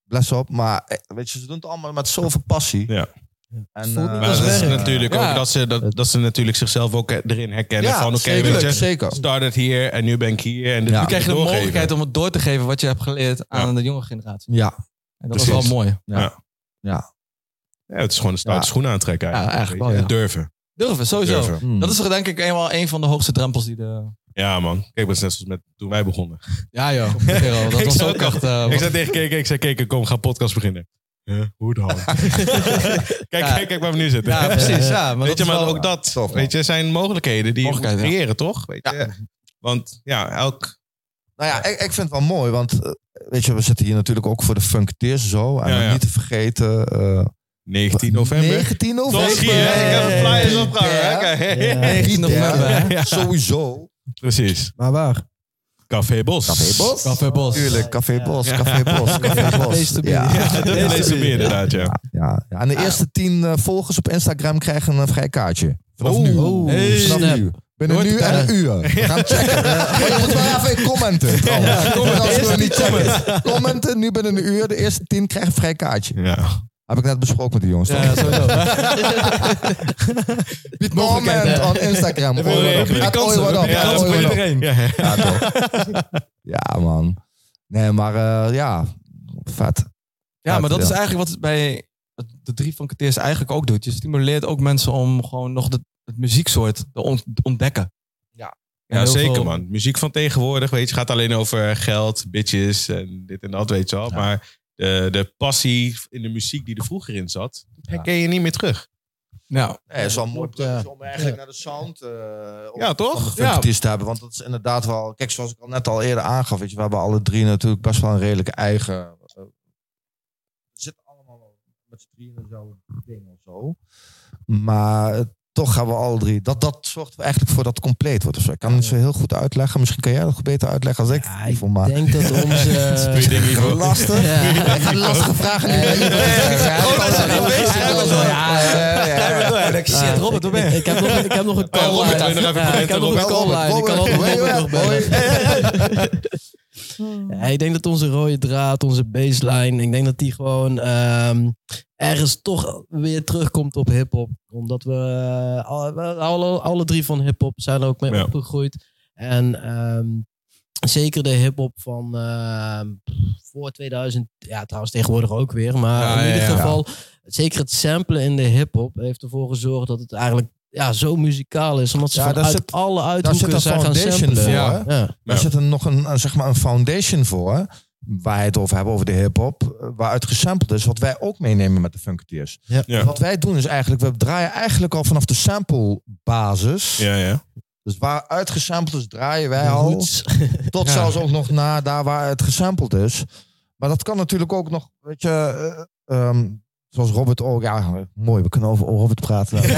C: Bless op. Maar eh, weet je, ze doen het allemaal met zoveel passie.
B: Ja.
C: En,
D: Voelt niet
C: eh,
B: Maar
D: Dat
B: dat
D: is
B: is
D: werk.
B: natuurlijk
E: Ja.
B: ook dat ze, dat, dat ze natuurlijk zichzelf ook eh, erin herkennen.
C: ja,
B: van oké,
C: zeker.
B: weet je,
C: zeker.
B: start het hier en nu ben ik hier. En dit
C: Ja.
E: Nu
B: moet
E: krijg je de
B: doorgeven.
E: mogelijkheid om het door te geven wat je hebt geleerd aan de jonge generatie.
C: Ja,
E: En dat is
B: Precies.
E: wel mooi.
B: Ja, het is gewoon een stoute
C: Ja.
B: schoen aantrekken.
E: Ja, eigenlijk
B: weet je.
E: wel,
B: En durven.
E: Durven, sowieso.
B: durven.
C: Mm.
E: Dat is toch denk ik eenmaal een van de hoogste drempels die de...
B: Ja, man. Kijk, dat is net zoals met, toen wij begonnen.
E: Ja joh, kerel, dat
B: Ik
E: was
B: zou
E: ook
B: het
E: echt... eh,
B: Ik
E: wat-
B: zei tegen Keke, ik zei Keke, kom, we gaan podcast beginnen. Huh? Hoe dan? kijk, kijk, kijk waar we nu zitten.
E: ja, precies. Ja, maar
B: weet je,
E: dat is
B: maar
E: wel-
B: ook dat,
C: tof, man.
B: weet je, zijn mogelijkheden die
E: Mogelijkheden,
B: je moet creëren, toch? Weet je? Want ja, elk...
C: Nou ja, ik, ik vind het wel mooi, want eh, weet je, we zitten hier natuurlijk ook voor de funketeers en zo. En
B: Ja, ja.
C: niet te vergeten... eh
B: 19 november.
C: 19 november.
B: Toch hier, hè? ik heb een flyers opgehangen.
C: Ja.
B: hè? Kijk.
D: Ja.
E: 19 november. hè?
B: Ja.
C: Sowieso.
B: Precies.
D: Maar waar?
B: Café Bos.
C: Café Bos.
E: Café Bos.
C: Tuurlijk, Café
D: Ja.
C: Bos, Café Bos, Café Bos. Ja.
D: Deze bier.
B: Ja, dat is deze meer inderdaad, ja.
C: Ah, Ja. ja, en de eerste tien eh, volgers op Instagram krijgen een vrij kaartje. Vanaf nu.
D: Oeh. Hey.
C: Vanaf
D: Snap.
C: nu. Binnen
E: Nooit
C: nu
E: te
C: en een uur. We gaan hem checken. Maar je moet wel even in commenten. trouwens. Anders kunnen we niet checken. Commenten, nu binnen een uur. De eerste tien krijgen een vrij kaartje.
B: ja.
C: Heb ik net besproken met de jongens. toch?
E: Ja, sowieso.
C: Comment
E: mogelijkheden.
C: on Instagram.
B: we
C: Ooi,
B: hebben
C: wat op.
B: die
C: Gaat
B: kansen,
C: ooi,
B: we
C: wat op.
B: hebben die
C: Gaat
B: kansen
C: ooi,
B: voor
C: wat op.
B: iedereen. Ja.
C: Ja, toch. Ja, man. Nee, maar eh, ja, vet.
E: Ja, maar dat
C: Ja.
E: is eigenlijk wat het bij de drie van Kateers eigenlijk ook doet. Je stimuleert ook mensen om gewoon nog de, het muzieksoort te ont- te ontdekken.
C: Ja.
E: En
B: Ja,
E: heel
B: zeker
E: veel-
B: man. Muziek van tegenwoordig, weet je, gaat alleen over geld, bitches en dit en dat, weet je wel.
C: Ja.
B: Maar de, de passie in de muziek die er vroeger in zat, dat herken je niet meer terug.
E: Nou,
C: Nee, het is wel een mooi
D: Klopt, ja.
C: bruggetje om eigenlijk naar de sound eh, op-
B: Ja, toch?
C: van de funketeers te hebben. Want dat is inderdaad wel... Kijk, zoals ik al net al eerder aangaf, weet je, we hebben alle drie natuurlijk best wel een redelijke eigen... eh, we zitten allemaal wel met z'n drieën in dezelfde ding of zo. Maar eh, toch gaan we alle drie... Dat, dat zorgt er eigenlijk voor dat het compleet wordt of zo. Ik kan het zo heel goed uitleggen. Misschien kan jij dat beter uitleggen als ik.
D: Ja,
C: Ivo, maar...
D: Ik denk dat
B: Goeie
D: onze...
B: ding, Ivo.
C: Lastig.
D: Ja.
C: Ik ga die lastige vragen nu.
D: Ja, ja, ja.
E: ik zie het, Robert, waar ben
D: Ik,
E: je?
D: ik heb nog, ik heb nog een
B: Ja,
D: call
B: Robert,
D: line.
B: wil je nog even
D: Ja, ik heb
B: connecten,
D: nog een call line. Ik kan altijd Robert nog bellen. Ja, ik denk dat onze rode draad, onze baseline, ik denk dat die gewoon ehm, ergens toch weer terugkomt op hip-hop. Omdat we, eh, al- we- alle, alle drie van hip-hop zijn er ook mee
B: Ja.
D: opgegroeid. En ehm, zeker de hip-hop van ehm, voor 2000, ja trouwens tegenwoordig ook weer, maar
E: Ja,
D: in
E: ja,
D: ieder
E: ja.
D: geval, zeker het samplen in de hip-hop heeft ervoor gezorgd dat het eigenlijk ja, zo muzikaal is. Omdat ze
C: Ja, daar
D: vanuit
C: zit-
D: alle
C: Daar Nou, zit
D: uithoeken
C: een
D: zijn gaan
C: foundation
D: samplen.
C: voor.
E: Ja.
C: hè?
D: Ja.
C: Daar
B: Ja.
C: zit een, nog een, eh, zeg maar een foundation voor. hè, Waar je het over hebben, over de hip-hop. eh, Waaruit gesampled is. Wat wij ook meenemen met de Funketeers.
D: Ja.
B: Ja.
C: Wat wij doen is eigenlijk. We draaien eigenlijk al vanaf de samplebasis.
B: Ja, ja.
C: Dus waaruit gesampled is, draaien wij
D: De
C: al.
D: roots.
C: Tot
E: Ja.
C: zelfs ook nog na daar waar het gesampled is. Maar dat kan natuurlijk ook nog, weet je, eh, ehm, zoals Robert ook. Ja, mooi, we kunnen over Robert praten. Nee.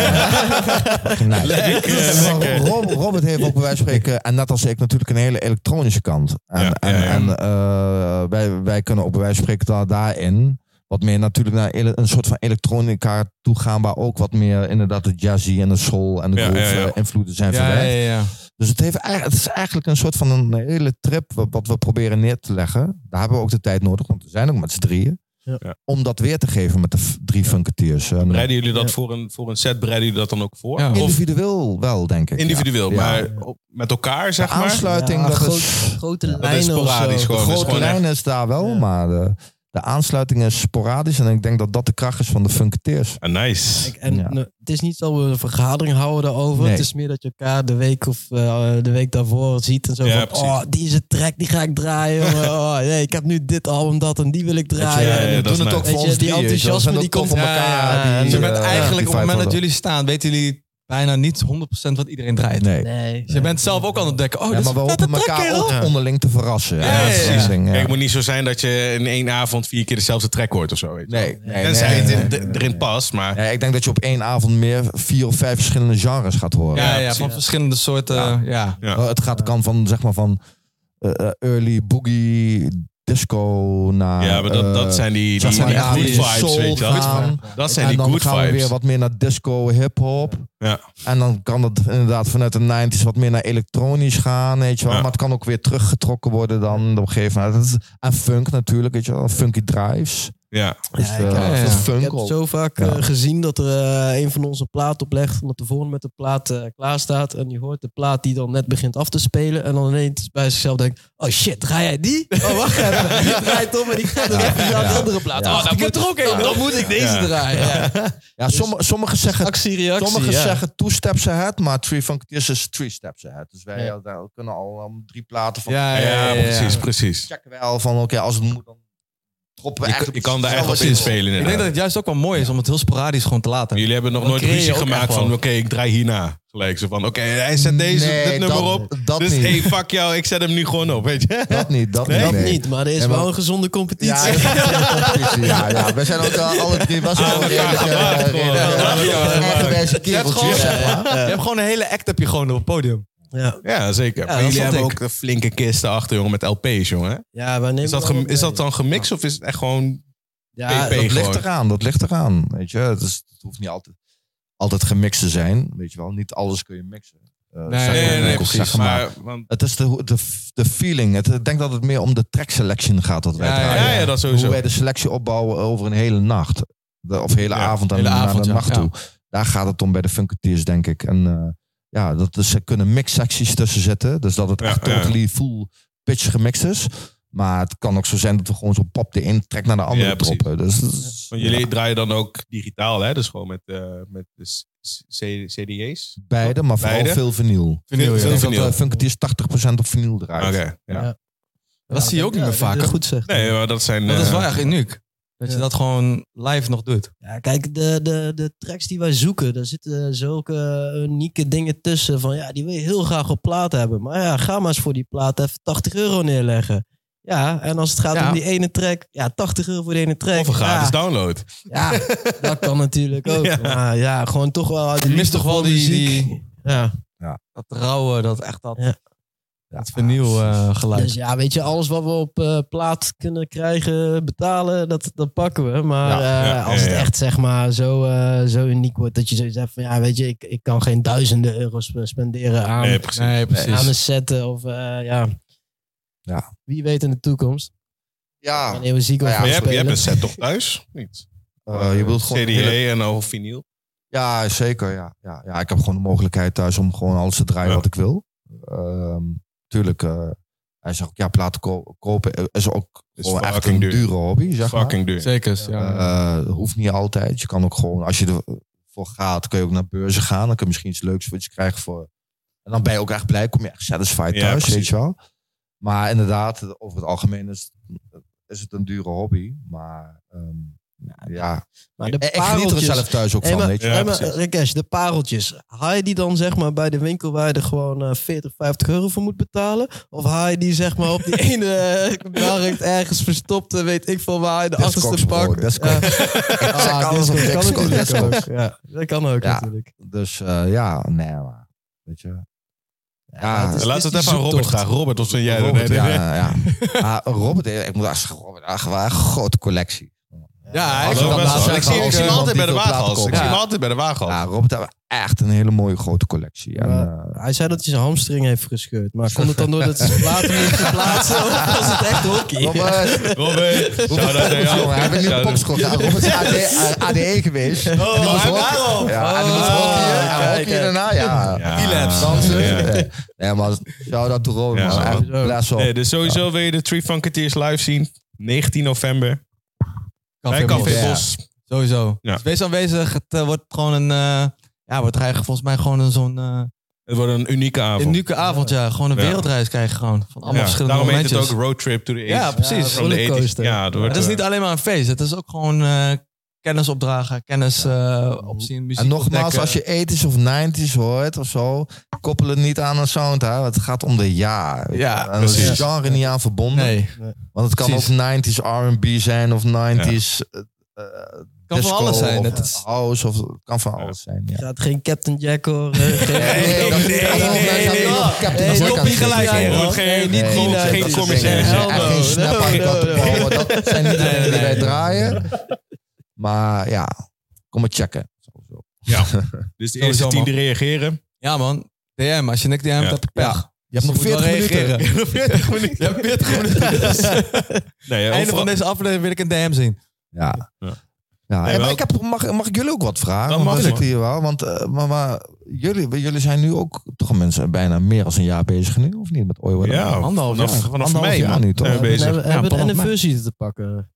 C: Maar Rob- Robert heeft ook bij wijze van spreken, en net als ik, natuurlijk een hele elektronische kant. En,
B: Ja,
C: en,
B: ja, ja.
C: en eh, wij, wij kunnen ook bij wijze van spreken daar, daarin wat meer natuurlijk naar ele- een soort van elektronica toe gaan, waar ook wat meer inderdaad de jazzy en de soul en de
B: Ja,
C: groove
B: ja, ja.
C: eh, invloeden zijn
E: Ja, ja,
C: verwerkt.
E: ja.
C: Dus het, heeft, eigenlijk- het is eigenlijk een soort van een hele trip wat, wat we proberen neer te leggen. Daar hebben we ook de tijd nodig, want we zijn ook met z'n drieën.
D: Ja.
B: Ja.
C: Om dat weer te geven met de v- drie funketeers. En, eh,
B: Bereiden jullie dat
D: Ja.
B: voor, een, voor een set, bereiden jullie dat dan ook voor?
E: Ja.
B: Of
C: individueel wel, denk ik. ja.
B: individueel,
C: Ja.
B: maar op- met elkaar, zeg maar?
C: Aansluiting,
D: Ja,
C: dat
D: groot-
C: is...
D: grote
B: Dat is
D: lijnen of zo.
B: sporadisch gewoon.
C: De
B: Dat is
C: grote
B: gewoon echt-
C: lijn is daar wel,
D: Ja.
C: maar de, de aansluiting is sporadisch. En ik denk dat dat de kracht is van de funketeers.
B: Ah, nice.
D: Kijk, En
C: Ja.
D: nou, het is niet dat we een vergadering houden daarover.
C: Nee.
D: Het is meer dat je elkaar de week of eh, de week daarvoor ziet en zo
B: Ja,
D: van,
B: precies.
D: oh, deze track die ga ik draaien. jongen. oh, nee, ik heb nu dit album, dat en die wil ik draaien.
B: ja,
D: En
B: ja,
C: we
B: dat is
C: doen
B: nice.
C: het ook
D: Weet
C: voor
D: je,
C: ons
D: die
C: drieën, weet je wel. We
D: enthousiasme
C: zijn ook
D: die
C: tof
D: komt-
C: op
E: Ja, ja,
C: elkaar.
E: ja.
C: die,
E: Dus je bent
C: eh,
E: eigenlijk
C: die
E: op het
C: vibe
E: moment dat
C: hadden.
E: jullie staan, weten jullie bijna niet 100% wat iedereen draait.
C: Nee.
D: Nee.
E: Dus je bent zelf ook aan het denken, oh,
C: ja,
E: dit is
C: maar we
E: een vette
C: hopen
E: track,
C: elkaar
E: kerel.
C: ook onderling te verrassen.
E: Ja, ja,
C: dat
E: ja.
C: soort dingen,
B: Kijk,
C: ja.
B: het moet niet zo zijn dat je in één avond vier keer dezelfde track hoort of zo. Weet je.
C: Nee, nee,
B: Tenzij
C: nee,
B: het in-
C: nee,
B: de-
C: nee, nee.
B: erin past, maar...
C: Ja, ik denk dat je op één avond meer vier of vijf verschillende genres gaat horen.
E: Ja, ja,
B: precies.
E: van verschillende soorten. Ja.
B: Ja.
C: Uh, het gaat kan van, zeg maar, van eh, eh, early boogie, disco naar...
B: Ja, maar dat, dat zijn die, die,
C: zeg maar,
B: die
C: ja,
B: good
C: eh, die
B: vibes,
C: soul
B: weet je wel.
C: gaan.
B: Dat zijn
C: en
B: die
C: dan
B: good
C: gaan we weer
B: vibes.
C: wat meer naar disco, hip-hop.
B: Ja.
C: En dan kan dat inderdaad vanuit de 90s wat meer naar elektronisch gaan. Weet je wel.
B: Ja.
C: Maar het kan ook weer teruggetrokken worden dan op een gegeven moment. Dat is- En funk natuurlijk, weet je wel. Funky drives.
B: Ja.
C: Dus,
D: Ja,
C: eh,
D: ik-
C: veel
E: ja.
D: Ik
C: funk
D: heb
C: ook.
D: zo vaak
C: Ja.
D: eh, gezien dat er eh, een van ons een plaat oplegt. Omdat de volgende met de plaat eh, klaar staat. En je hoort de plaat die dan net begint af te spelen. En dan ineens bij zichzelf denkt: Oh shit, draai jij die? Oh wacht even. Die draait om en die gaat dan even naar de andere plaat.
C: Ja.
D: Oh, dan moet er ook een. Dan moet ik deze
B: Ja.
D: draaien. Ja.
C: Ja,
D: dus-
C: somm- sommigen zeggen
D: Actie-reactie.
C: Sommigen
D: ja.
C: zeggen two steps ahead, maar three funketeers is three steps ahead. Dus wij
D: Ja.
C: daar kunnen al um, drie platen van
E: Ja,
B: Ja, precies, precies.
C: checken wij al van oké, als het moet dan droppen we
B: Je,
C: echt
B: kan- je kan daar echt op
C: hetzelfde ding.
B: inspelen
E: Ik denk dat
B: inderdaad.
E: het juist ook wel mooi is om het heel sporadisch gewoon te laten.
B: Jullie hebben nog
E: Dan
B: nooit
E: creëer je
B: ruzie
E: ook echt
B: gemaakt van, oké,
E: wel.
B: ik draai hierna. Gelijk zo van, oké, hij zet deze,
C: Nee,
B: dit nummer
C: dat-
B: op.
C: dat
B: dus
C: niet.
B: hey, fuck jou, ik zet hem nu gewoon op, weet je.
C: Dat niet, dat
B: Nee?
C: niet.
D: Dat
C: nee.
D: niet, maar er is
C: Ja, maar-
D: wel een gezonde
C: Ja,
D: competitie.
C: dat is een competitie, ja, ja, we zijn ook wel alle drie best wel
B: we gaan
C: redelijk, eh,
B: gemaakt
C: redelijk,
B: gewoon.
C: eh,
B: Ja, we gaan gemaakt.
C: eigenwijze kereltjes, zeg maar.
E: Je hebt gewoon een hele act heb je gewoon op het podium.
D: Ja,
B: Ja, zeker. Maar
E: dat
B: jullie
E: snap
B: hebben
E: ik.
B: ook flinke kisten achter, jongen, met LP's, jongen.
D: ja wij nemen
B: Is dat,
D: wel
B: gem-
D: wat
B: is dat
D: mee.
B: dan gemixt of is het echt gewoon...
D: Ja,
B: PP?
D: dat-
C: Dat ligt
B: gewoon.
C: eraan, dat ligt eraan. Weet je, het, is, het hoeft niet altijd, altijd gemixt te zijn. Weet je wel, niet alles kun je mixen. Eh,
E: Nee,
C: zeg maar,
E: nee, nee,
C: zeg maar.
B: precies. Maar, want,
C: Het is de, de, de feeling. Het, ik denk dat het meer om de track selection gaat dat wij
E: Ja, ja,
C: draaien.
B: ja, ja, dat sowieso.
C: Hoe wij de selectie opbouwen over een hele nacht. De- of hele
B: Ja,
C: avond en
E: hele
C: naar
E: avond,
C: de
E: ja,
C: nacht
E: ja.
C: toe. Daar gaat het om bij de Funketeers, denk ik. En eh, ja, dat is, er kunnen mixsecties tussen zitten. Dus dat het
B: Ja,
C: echt
B: ja.
C: totally full pitch gemixt is. Maar het kan ook zo zijn dat we gewoon zo pop de ene trek naar de andere
B: Ja, precies.
C: droppen. Dus, dat is-
B: want jullie draaien dan ook digitaal, hè? Dus gewoon met, eh, met de s- s- C- CD's?
C: beide, maar vooral
B: Beide?
C: veel vinyl.
B: Vinyl,
C: Ik
B: ja.
C: denk dat
B: Vinyl.
C: eh, Funketeers 80% op vinyl
B: Oké,
C: draait.
B: ja.
E: Dat zie je ook niet meer vaak.
D: dat is goed zegt.
B: Nee, maar dat zijn...
E: Dat is
B: eh,
E: wel echt uniek. Dat je
D: Ja.
E: dat gewoon live nog doet.
D: Ja, kijk, de, de, de tracks die wij zoeken, daar zitten zulke unieke dingen tussen. Van ja, die wil je heel graag op plaat hebben. Maar ja, ga maar eens voor die plaat even 80 euro neerleggen. Ja, en als het gaat
E: Ja.
D: om die ene track, ja, 80 euro voor die ene track.
B: Of een gratis
D: ja,
B: download.
D: ja, dat kan natuurlijk ook.
B: Ja.
D: Maar ja, gewoon toch wel. uit de
E: Je mist
D: liefde
E: toch wel
D: voor
E: die-
D: muziek. Ja.
E: Dat rauwe, dat echt dat,
D: Ja.
E: dat vernieuw eh, geluid.
D: Dus ja, weet je, alles wat we op eh, plaat kunnen krijgen, betalen, dat, dat pakken we. Maar
C: Ja,
D: eh,
B: ja,
D: als het
B: ja, ja.
D: echt zeg maar zo, eh, zo uniek wordt dat je zoiets hebt van, ja, weet je, ik, ik kan geen duizenden euro's spenderen aan,
B: Nee, precies.
E: nee, precies.
D: aan een set eh, of eh, ja.
C: Ja.
D: Wie weet in de toekomst,
C: Ja,
D: wanneer we ziek
C: Nou ja,
D: gaan
B: Maar je, hebt, je
D: spelen.
B: hebt een set toch thuis? Niet.
C: eh, je wilt gewoon
B: CDA
C: een hele-
B: en al vinyl.
C: Ja, zeker. Ja. Ja, ja, ik heb gewoon de mogelijkheid thuis om gewoon alles te draaien
B: Ja.
C: wat ik wil. Ehm, tuurlijk, eh, hij zegt ook, ja, platen ko- kopen eh, is ook
B: Is
C: gewoon echt een
B: fucking duur.
C: dure hobby, zeg maar.
B: Fucking duur.
E: Zeker, ja.
C: Eh, hoeft niet altijd. Je kan ook gewoon, als je ervoor gaat, kun je ook naar beurzen gaan. Dan kun je misschien iets leuks voor iets krijgen. Voor... En dan ben je ook echt blij, kom je echt satisfied
B: Ja,
C: thuis,
B: precies.
C: weet je wel. Maar inderdaad, over het algemeen is, is het een dure hobby. Maar ehm, ja,
D: Maar de
C: ik geniet er
D: Nou, pareltjes-
C: zelf thuis ook
D: Hey,
C: van,
D: maar-
C: weet je wel.
B: Ja,
D: hey, maar,
B: precies.
D: Rakesh, de pareltjes. Haal je die dan zeg maar bij de winkel waar je er gewoon eh, 40, 50 euro voor moet betalen? Of haal je die zeg maar op die ene eh, markt ergens verstopt, eh, weet ik veel waar, in de achterste
C: Discogs,
D: pak?
C: bro, Discogs.
D: Ja.
C: Ik check
D: Ah,
C: alles op
D: Discogs.
C: Discogs.
D: Kan natuurlijk
C: Discogs.
D: ook. Ja, dat kan ook
C: Ja.
D: natuurlijk.
C: Dus eh, ja, nee, maar weet je. Ja,
D: het is-
B: Laat
D: is
B: het
D: die
B: even aan Robert
D: zoektocht.
B: vragen. Robert, wat vind jij?
C: Robert,
B: Nee, nee, nee.
C: ja, ja. Maar Robert, eh, ik moet echt zeggen, Robert, echt waar, een grote collectie.
E: Ja, hij
B: Hij
E: is
B: is
C: dan
B: wel
C: laat
B: best wel.
C: zeggen
B: Ik zie ik
C: als
B: zie hem
C: iemand
B: altijd bij
C: die
B: de
C: veel platen
B: waaghals. Ik
C: koopt.
B: zie hem
E: Ja.
B: altijd bij de
C: Ja,
B: waaghals.
C: Robert heeft echt een hele mooie grote collectie. En,
D: Ja.
C: eh,
D: Hij zei dat hij zijn hamstring heeft gescheurd, maar kon het dan doordat ze zijn platen niet verplaatsen? Of was het echt hockey?
C: eh, Robert,
B: Robert, shout-out aan jou.
C: jongen, hij heeft nu
B: Shout-out.
C: popschool gedaan. Robert is AD, ADE E geweest. En die was
B: Oh, hij
C: hockey-
B: daarom.
C: Ja, en die was
B: Ah,
C: hockey. En
D: kijk,
C: hockey
D: kijk.
C: daarna, ja.
B: Ja. Relapse.
C: Dansen.
B: Ja.
C: Nee. Nee, maar shout-out to Robert,
B: Ja,
C: man.
B: zo.
C: Echt, bless up.
B: Nee, dus sowieso wil je de Three Funketeers live zien. 19 november.
E: Café
B: bij Café
E: Bos.
C: Bos.
B: Bos.
E: Sowieso.
B: Ja.
E: Dus wees aanwezig. Het eh, wordt gewoon een... eh, ja, wordt er eigenlijk volgens mij gewoon een zo'n... eh,
B: Het wordt een unieke avond.
E: unieke avond, ja. Gewoon een
B: Ja.
E: wereldreis krijgen gewoon. Van allemaal
B: Ja,
E: verschillende
B: Daarom heet
E: momentjes.
B: het ook Road Trip to the 80s.
E: Ja, precies.
B: From the 80s.
D: rollercoaster.
B: Ja, dat wordt
E: het is
B: eh,
E: niet alleen maar een feest. Het is ook gewoon eh, kennis opdragen, kennis eh, opzien, muziek
C: En nogmaals,
E: ontdekken.
C: als je 80s of 90s hoort of zo, koppel het niet aan een sound. Hè? want Het gaat om de jaar. weet je.
E: Ja,
C: en dat is het
E: precies.
C: genre niet aan verbonden.
E: Nee,
C: Want het kan
E: precies.
C: ook 90s RB zijn of 90s. eh, eh,
E: kan
C: disco
E: van alles zijn.
C: Of
E: Het is-
C: house of het kan van alles zijn. Ja.
D: Gaat geen Captain Jack hoor. eh, geen-
B: nee,
C: dat-
B: nee,
C: dat-
B: nee,
C: dat-
B: nee,
C: dat-
B: nee.
C: dat- dat-
D: Nee,
C: dat-
D: stop
C: dat-
D: hier
C: dat-
B: gelijk
C: dat-
B: in,
C: dat-
B: hoor. Geen- niet
C: Nee,
B: gewoon-
C: dat-
B: geen
C: dat- dat-
B: commerciële
C: dat-
B: helden.
C: en Geen snap aan de kant
D: Nee, nee,
C: bouwen. Dat zijn niet de dingen die wij draaien. Maar ja, kom maar checken.
B: Dus de
E: Sowieso,
B: eerste tien
E: man.
B: die reageren.
E: Ja man, DM. Als je niks DM
B: Ja.
E: hebt, heb ik pech.
C: Je hebt nog
E: moet wel
C: 40 minuten.
E: reageren.
B: 40 minuten.
E: Je hebt 40 minuten. Dus,
B: Nee, ja,
E: Einde
B: overal-
E: van deze aflevering wil ik een DM zien.
C: Ja.
B: Ja.
C: Ja,
B: Nee,
C: en
B: maar
C: ik heb, mag, mag ik jullie ook wat vragen?
B: Dat
C: Want
B: mag,
C: we
B: man.
C: zitten hier wel. Want eh, maar, maar, jullie, jullie zijn nu ook toch mensen bijna meer dan een jaar bezig nu, of niet? Met Oiwa?
B: Ja,
E: Anderhalf
B: Oh, vanaf,
E: jaar.
B: vanaf
C: Anderhalf
B: mei,
C: jaar
B: man.
C: nu, toch?
B: zijn we
D: We
B: bezig.
D: hebben,
C: Ja,
D: hebben een
C: pas op, maar-
D: anniversary te pakken.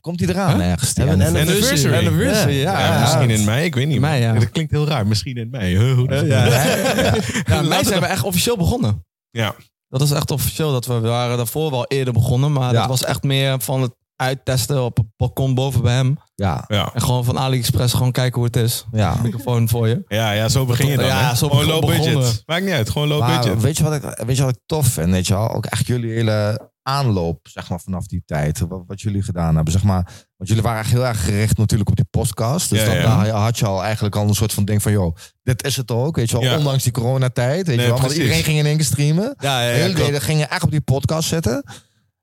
C: Komt die eraan ergens? die
D: Hebben we een
C: anniversary?
B: Anniversary.
E: Anniversary,
B: Ja,
E: ja.
B: misschien in mei, ik weet niet.
E: In mei,
B: man.
E: ja.
B: Dat klinkt heel raar. Misschien in mei. Huh, hoe dat-
E: Ja.
C: Ja.
E: Ja, mij zijn we echt officieel begonnen.
B: Ja.
E: Dat is echt officieel. Dat we we waren daarvoor wel eerder begonnen. Maar
C: Ja.
E: dat was echt meer van het uittesten op het balkon boven bij hem.
C: Ja,
B: Ja.
E: En gewoon van AliExpress gewoon kijken hoe het is.
C: ja.
E: Microfoon voor je.
B: Ja, ja, zo begin je dan.
E: Ja,
B: hè.
E: zo
B: gewoon low
E: begonnen.
B: budget. Maakt niet uit, gewoon low
C: Maar
B: budget.
C: weet je, wat ik, weet je wat ik tof vind? Weet je wel? Ook echt jullie hele aanloop, zeg maar, vanaf die tijd. Wat, wat jullie gedaan hebben, zeg maar. Want jullie waren echt heel erg gericht natuurlijk op die podcast. Dus
B: Ja,
C: dan
B: ja.
C: daar had je al eigenlijk al een soort van ding van... joh, dit is het ook, weet je wel.
B: Ja.
C: Ondanks die coronatijd, weet
B: Nee,
C: je wel. Want
B: precies.
C: iedereen ging in één keer streamen.
E: Ja, ja,
C: Jullie deden- gingen echt op die podcast zitten.